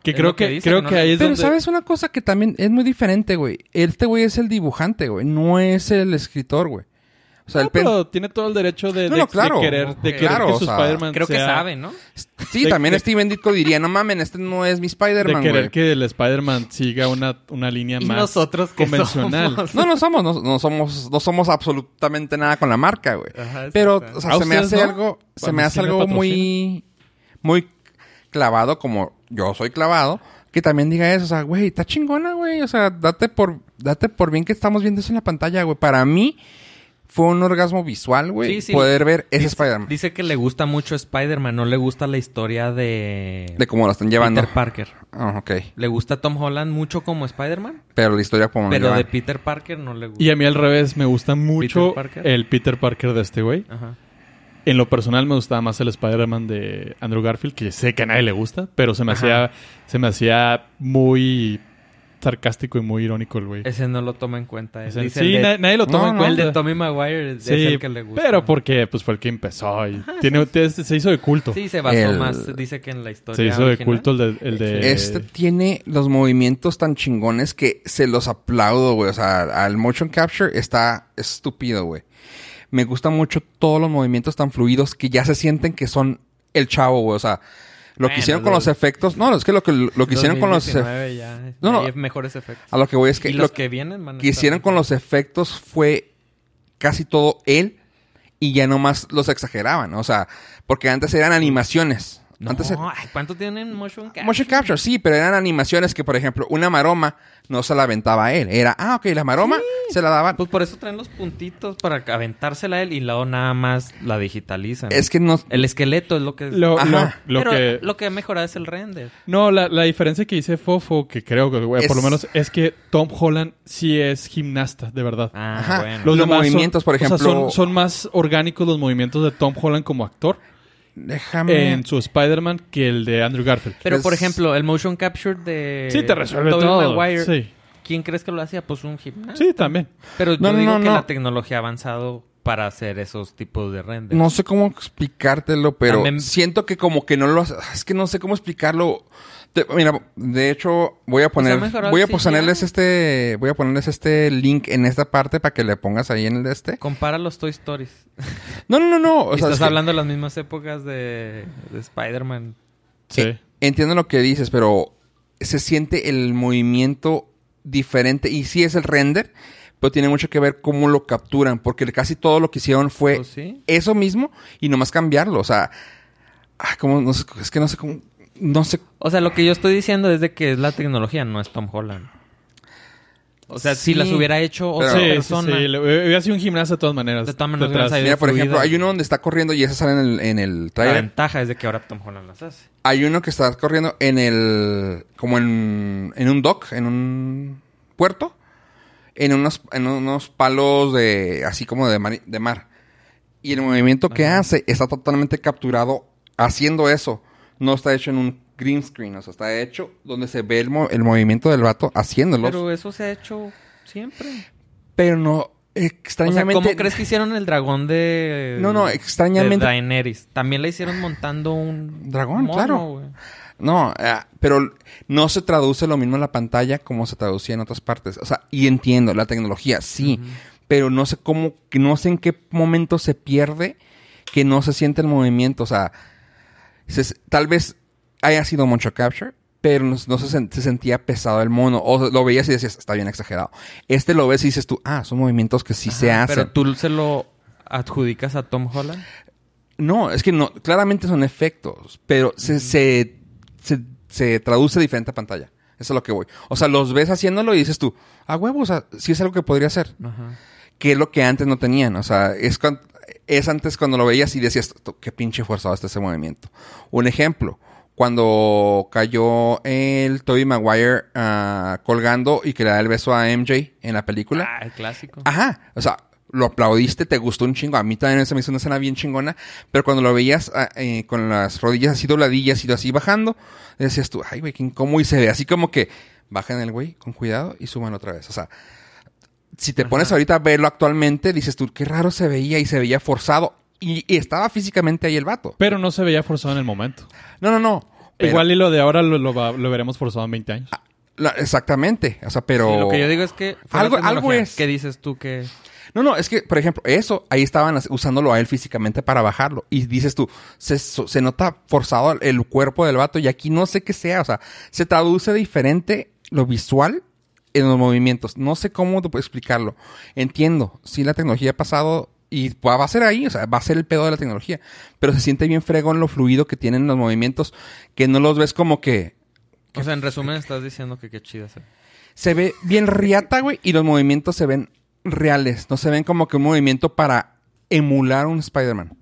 B: Que
C: Es
B: creo
C: lo que
B: que,
C: dice,
B: creo
C: ¿no?
B: que ahí es
A: Pero
B: donde. Ah,
A: sabes una cosa que también es muy diferente, güey. Este güey es el dibujante, güey. No es el escritor, güey. O sea,
B: No,
A: el pen-
B: pero tiene todo el derecho de,
A: No,
B: de-
A: no, claro.
B: de querer, de querer
A: Claro,
B: que
A: o
B: su
A: sea,
B: Spider-Man
C: Creo que
B: sea-
C: sabe, ¿no?
A: Sí,
B: de-
A: también
B: de-
A: Steven Ditko diría, no mamen, este no es mi
B: De
A: Spider-Man,
B: querer
A: güey.
B: que el Spider-Man siga una, una línea
C: Y
B: más
C: nosotros que
B: convencional.
C: somos.
A: No, no somos, no, no somos, no somos absolutamente nada con la marca, güey.
C: Ajá,
A: Pero,
C: exacto.
A: o sea,
B: ¿A
A: se me
B: ustedes
A: hace
B: no?
A: algo, se
B: Cuando
A: me hace
B: sí me
A: algo muy, muy clavado, como yo soy clavado, que también diga eso, o sea, güey, está chingona, güey, o sea, date por, date por bien que estamos viendo eso en la pantalla, güey. Para mí fue un orgasmo visual, güey,
C: Sí, sí.
A: poder ver ese Spider-Man,
C: Dice que le gusta mucho Spider-Man, no le gusta la historia de,
A: de cómo lo están llevando.
C: Peter Parker.
A: Ah, ok,
C: Le gusta Tom Holland mucho como Spider-Man,
A: pero la historia como
C: pero
A: lo
C: de
A: llevan.
C: Peter Parker no le gusta.
B: Y a mí al revés, me gusta mucho
C: ¿Peter Parker?
B: el Peter Parker de este güey.
C: Ajá.
B: En lo personal me gustaba más el Spider-Man de Andrew Garfield, que sé que a nadie le gusta, pero se me
C: Ajá.
B: hacía se me hacía muy sarcástico y muy irónico el güey.
C: Ese no lo toma en cuenta. él.
B: O sea,
C: Dice
B: sí,
C: el
B: na-
C: de,
B: nadie lo toma
A: No,
B: en
A: no.
B: cuenta.
C: el de Tommy Maguire es,
B: Sí,
C: es el que le gusta.
B: pero porque pues fue el que empezó y tiene, te- se hizo de culto.
C: Sí, se basó
A: El-
C: más, dice que en la historia
B: se hizo de
C: original.
B: culto el de... el de-
A: Este tiene los movimientos tan chingones que se los aplaudo, güey. O sea, al motion capture está estúpido, güey. Me gustan mucho todos los movimientos tan fluidos que ya se sienten que son el chavo, güey. O sea, lo
C: Bueno,
A: que hicieron con
C: lo-
A: los efectos. No, es que lo que, lo que hicieron con los. ef-
C: 2019 ya, este,
A: No, no.
C: ahí es mejores efectos.
A: A lo que voy es que
C: y
A: lo
C: los que vienen van a
A: que hicieron
C: estar-
A: con los efectos fue casi todo él y ya nomás los exageraban. O sea, porque antes eran animaciones.
C: No,
A: antes era-
C: ay, ¿cuánto tienen motion capture?
A: Motion capture, sí, pero eran animaciones que, por ejemplo, una maroma no se la aventaba a él. Era, ah, ok, la maroma se la daban.
C: Pues por eso traen los puntitos para aventársela a él y luego nada más la digitalizan.
A: Es que no.
C: El esqueleto es lo que...
B: Lo, lo-
A: Ajá.
B: lo
C: Pero
B: que...
C: lo que ha mejorado es el render.
B: No, la, la diferencia que hice Fofo, que creo que, güey, por lo
A: Es-
B: menos, es que Tom Holland sí es gimnasta, de verdad.
C: Ah,
A: Ajá.
C: bueno.
A: Los
B: demás
A: movimientos, por
B: o sea,
A: ejemplo-
B: son, son más orgánicos los movimientos de Tom Holland como actor
A: Déjame.
B: en su Spider-Man que el de Andrew Garfield.
C: Pero, por
A: es-
C: ejemplo, el motion capture de...
B: sí, te resuelve
C: Eh, Tobey
B: todo.
C: Maguire,
B: Sí.
C: ¿Quién crees que lo hacía? Pues un gimnasta.
B: sí, también.
C: Pero yo
A: No, no,
C: digo
A: no,
C: que
A: no.
C: la tecnología ha avanzado para hacer esos tipos de render.
A: No sé cómo explicártelo, pero
C: También-
A: siento que como que no lo hace- Es que no sé cómo explicarlo. Te- mira, de hecho, voy a poner.
C: ha mejorado
A: Voy a
C: el CGI.
A: ponerles este. Voy a ponerles este link en esta parte para que le pongas ahí en el de este.
C: Compara los Toy Stories.
A: No, no, no, no. O
C: Y
A: sea,
C: estás
A: es que
C: hablando de las mismas épocas de, de Spider-Man.
B: Sí.
A: Eh, entiendo lo que dices, pero se siente el movimiento diferente. Y sí es el render, pero tiene mucho que ver cómo lo capturan. Porque casi todo lo que hicieron fue
C: Pues sí.
A: eso mismo y nomás cambiarlo. O sea, ah, como no sé, es que no sé cómo. No sé.
C: O sea, lo que yo estoy diciendo es de que es la tecnología, no es Tom Holland. O sea,
A: Sí.
C: si las hubiera hecho otra
A: Pero-
B: Sí, sí,
C: persona...
B: sí, le- eh, Hubiera sido un gimnasta de todas maneras.
C: De todas maneras,
B: Detrás.
C: hubiera salido
A: Mira, por
C: fluido.
A: ejemplo, hay uno donde está corriendo y esa sale en el, en el
C: La
A: trailer.
C: ventaja es de que ahora Tom Holland las hace.
A: Hay uno que está corriendo en el. como en. en un dock, en un puerto. En unos, en unos palos de. así como de mar. De mar. Y el movimiento que hace está totalmente capturado haciendo eso. No está hecho en un green screen. O sea, está hecho donde se ve el, mo- el movimiento del vato haciéndolos. Pero,
C: Pero eso se ha hecho siempre.
A: no.
C: O sea,
A: Extrañamente.
C: ¿cómo crees que hicieron el dragón de...
A: No, no, extrañamente-
C: De Daenerys. También la hicieron montando un...
A: Dragón, claro.
C: güey.
A: No, eh, pero no se traduce lo mismo en la pantalla como se traducía en otras partes. O sea, y entiendo, la tecnología sí, pero no sé cómo, que no sé en qué momento se pierde que no se siente el movimiento. O sea, se- tal vez haya sido mucho capture, pero no, no se, sen- se sentía pesado el mono. O lo veías y decías, está bien exagerado. Este lo ves y dices tú, ah, son movimientos que sí se
C: Ajá,
A: hacen.
C: Pero tú se lo adjudicas a Tom Holland.
A: No, es que no, claramente son efectos, pero se, se, se, se traduce diferente a pantalla. Eso es lo que voy. O sea, los ves haciéndolo y dices tú, a huevo, o sea, sí es algo que podría hacer. Que es lo que antes no tenían. O sea, es, cuan- es antes cuando lo veías y decías, "Tú, qué pinche forzado está ese movimiento. Un ejemplo, cuando cayó el Tobey Maguire ah, colgando y que le da el beso a MJ en la película.
C: Ah, el clásico.
A: Ajá, o sea, lo aplaudiste, te gustó un chingo. A mí también se me hizo una escena bien chingona, pero cuando lo veías ah, eh, con las rodillas así dobladillas y así bajando, decías tú, ay, güey, qué incómodo y se ve así como que bajan el güey con cuidado y suban otra vez. O sea, si te pones ahorita a verlo actualmente, dices tú, qué raro se veía y se veía forzado. Y, y estaba físicamente ahí el vato.
B: Pero no se veía forzado en el momento.
A: No, no, no. pero- Ah,
B: Igual y lo de ahora lo, lo va- lo veremos forzado en 20 años.
A: la- exactamente. O sea, pero.
C: Sí, lo que yo digo es que... fue la
A: Algo- algo
C: tecnología.
A: es.
C: ¿Qué dices tú que...?
A: No, no, es que, por ejemplo, eso, ahí estaban as- usándolo a él físicamente para bajarlo. Y dices tú, se, so- se nota forzado el- el cuerpo del vato y aquí no sé qué sea, o sea, se traduce diferente lo visual en los movimientos. No sé cómo te puedo explicarlo. Entiendo, sí, la tecnología ha pasado y va va a ser ahí, o sea, va a ser el pedo de la tecnología. Pero se siente bien fregón lo fluido que tienen los movimientos, que no los ves como que
C: O sea, en resumen estás diciendo que qué chida se ve.
A: se ve bien riata, güey, y los movimientos se ven reales. No se ven como que un movimiento para emular un Spider-Man.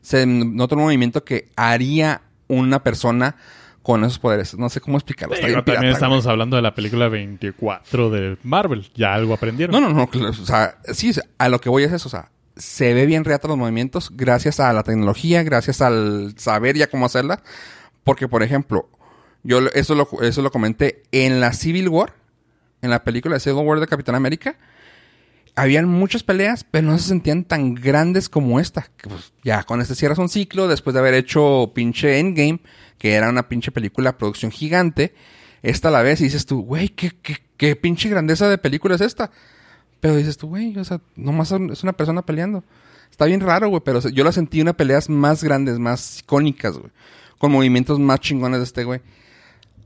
A: Se nota un movimiento que haría una persona con esos poderes. No sé cómo explicarlo. Está
B: Pues Digo,
A: bien
B: también
A: pirata,
B: estamos hablando de la película 24 de Marvel. Ya algo aprendieron.
A: güey. No, no, no. claro, O sea, sí, a lo que voy es eso. O sea, se ve bien reata los movimientos gracias a la tecnología, gracias al saber ya cómo hacerla. Porque, por ejemplo, yo lo- eso lo, eso lo comenté en la Civil War, en la película de Civil War de Capitán América. Habían muchas peleas, pero no se sentían tan grandes como esta. Que, pues, ya con este cierras un ciclo, después de haber hecho pinche Endgame, que era una pinche película producción gigante, esta la ves y dices tú, güey, ¿qué, qué, qué pinche grandeza de película es esta. Pero dices tú, güey, o sea, nomás es una persona peleando. Está bien raro, güey, pero o sea, yo la sentí una peleas más grandes, más icónicas, güey. Con movimientos más chingones de este güey.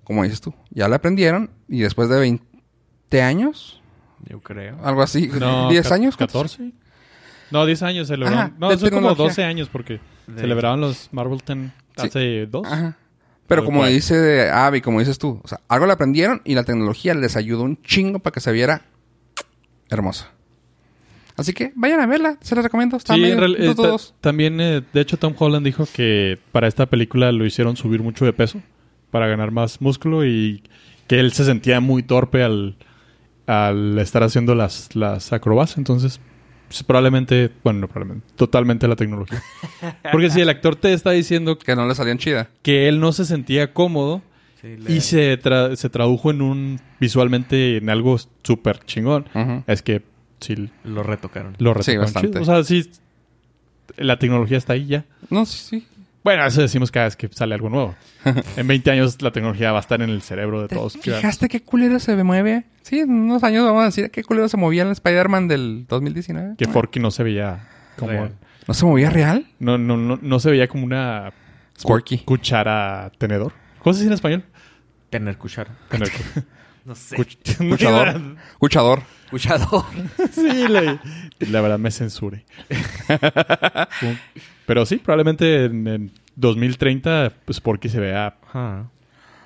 A: Como dices tú, ya la aprendieron y después de 20 años,
C: Yo creo.
A: algo así,
B: No,
A: 10
B: ca-
A: años. ¿cuántos?
B: 14. No, 10 años se
A: Ajá,
B: celebraron.
A: de
B: no, son como
A: tecnología.
B: 12 años porque
C: De-
B: celebraban los Marvel 10
A: Sí.
B: hace dos.
A: Ajá. Pero
B: Tal
A: como
B: cual.
A: dice Abby, como dices tú, o sea, algo la aprendieron y la tecnología les ayudó un chingo para que se viera hermosa. Así que vayan a verla, se la recomiendo. Está
B: Sí,
A: medio-
B: en real- eh,
A: no
B: ta-
A: todos.
B: también, eh, de hecho, Tom Holland dijo que para esta película lo hicieron subir mucho de peso para ganar más músculo y que él se sentía muy torpe al, al estar haciendo las, las acrobacias. Entonces, pues, probablemente, bueno, no probablemente, totalmente la tecnología. Porque si el actor te está diciendo
A: Que no le salían chida.
B: que él no se sentía cómodo
C: Sí, le-
B: y se, tra- se tradujo en un visualmente en algo súper chingón,
A: Ujú.
B: es que sí
C: Lo retocaron.
B: lo
A: Sí,
B: retocaron
A: bastante.
B: chido. O sea, sí, la tecnología está ahí ya.
A: No, sí, sí.
B: Bueno, eso decimos cada vez que sale algo nuevo. En 20 años la tecnología va a estar en el cerebro de
A: ¿Te
B: todos.
A: ¿Fijaste qué culero se mueve? Sí, en unos años vamos a decir qué culero se movía el Spider-Man del 2019.
B: Que Forky no se veía como...
C: Real.
A: ¿No se movía real?
B: No, no, no, no se veía como una
A: Sporky.
B: cuchara tenedor. ¿Cómo se dice en español?
C: Tener cuchara.
B: Tenedor.
C: No sé.
B: Cuch-
A: Cuchador. Cuchador.
C: Cuchador.
B: sí, le- la verdad me censuré. Un- Pero sí, probablemente en, en 2030 pues, Forky se vea
C: Ajá.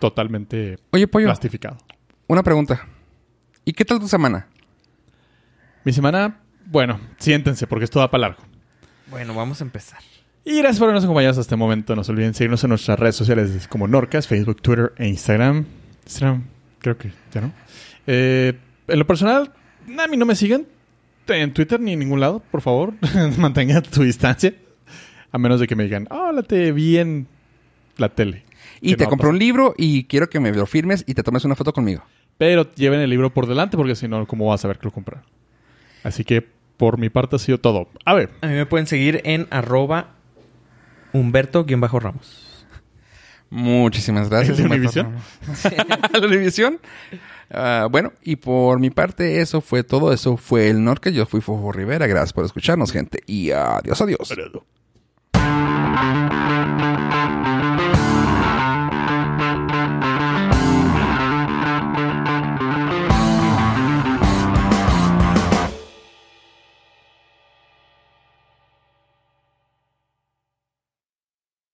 B: totalmente
A: Oye, Pollo,
B: plastificado.
A: una pregunta. ¿Y qué tal tu semana?
B: Mi semana, bueno, siéntense porque esto da para largo.
C: Bueno, vamos a empezar.
B: Y gracias por habernos acompañado hasta este momento. No se olviden seguirnos en nuestras redes sociales como Norcas, Facebook, Twitter e Instagram. Instagram, creo que ya no. Eh, en lo personal, a mí no me sigan en Twitter ni en ningún lado, por favor. Mantengan tu distancia. A menos de que me digan, "Ah, hola, te vi en la tele.
A: Y
B: Que
A: te
B: no pues.
A: compré
B: pasa.
A: un libro y quiero que me lo firmes y te tomes una foto conmigo.
B: Pero lleven el libro por delante porque si no, ¿cómo vas a ver que lo compraron? Así que por mi parte ha sido todo. A ver,
C: A mí me pueden seguir en arroba Humberto-Ramos.
A: Muchísimas gracias.
B: ¿El de
A: Humberto
B: Univisión?
A: Ramos. ¿El de Univisión? Ah, bueno, y por mi parte, eso fue todo. Eso fue el Norca. Yo fui Fofo Rivera. Gracias por escucharnos, gente. Y adiós, adiós.
B: Alfredo.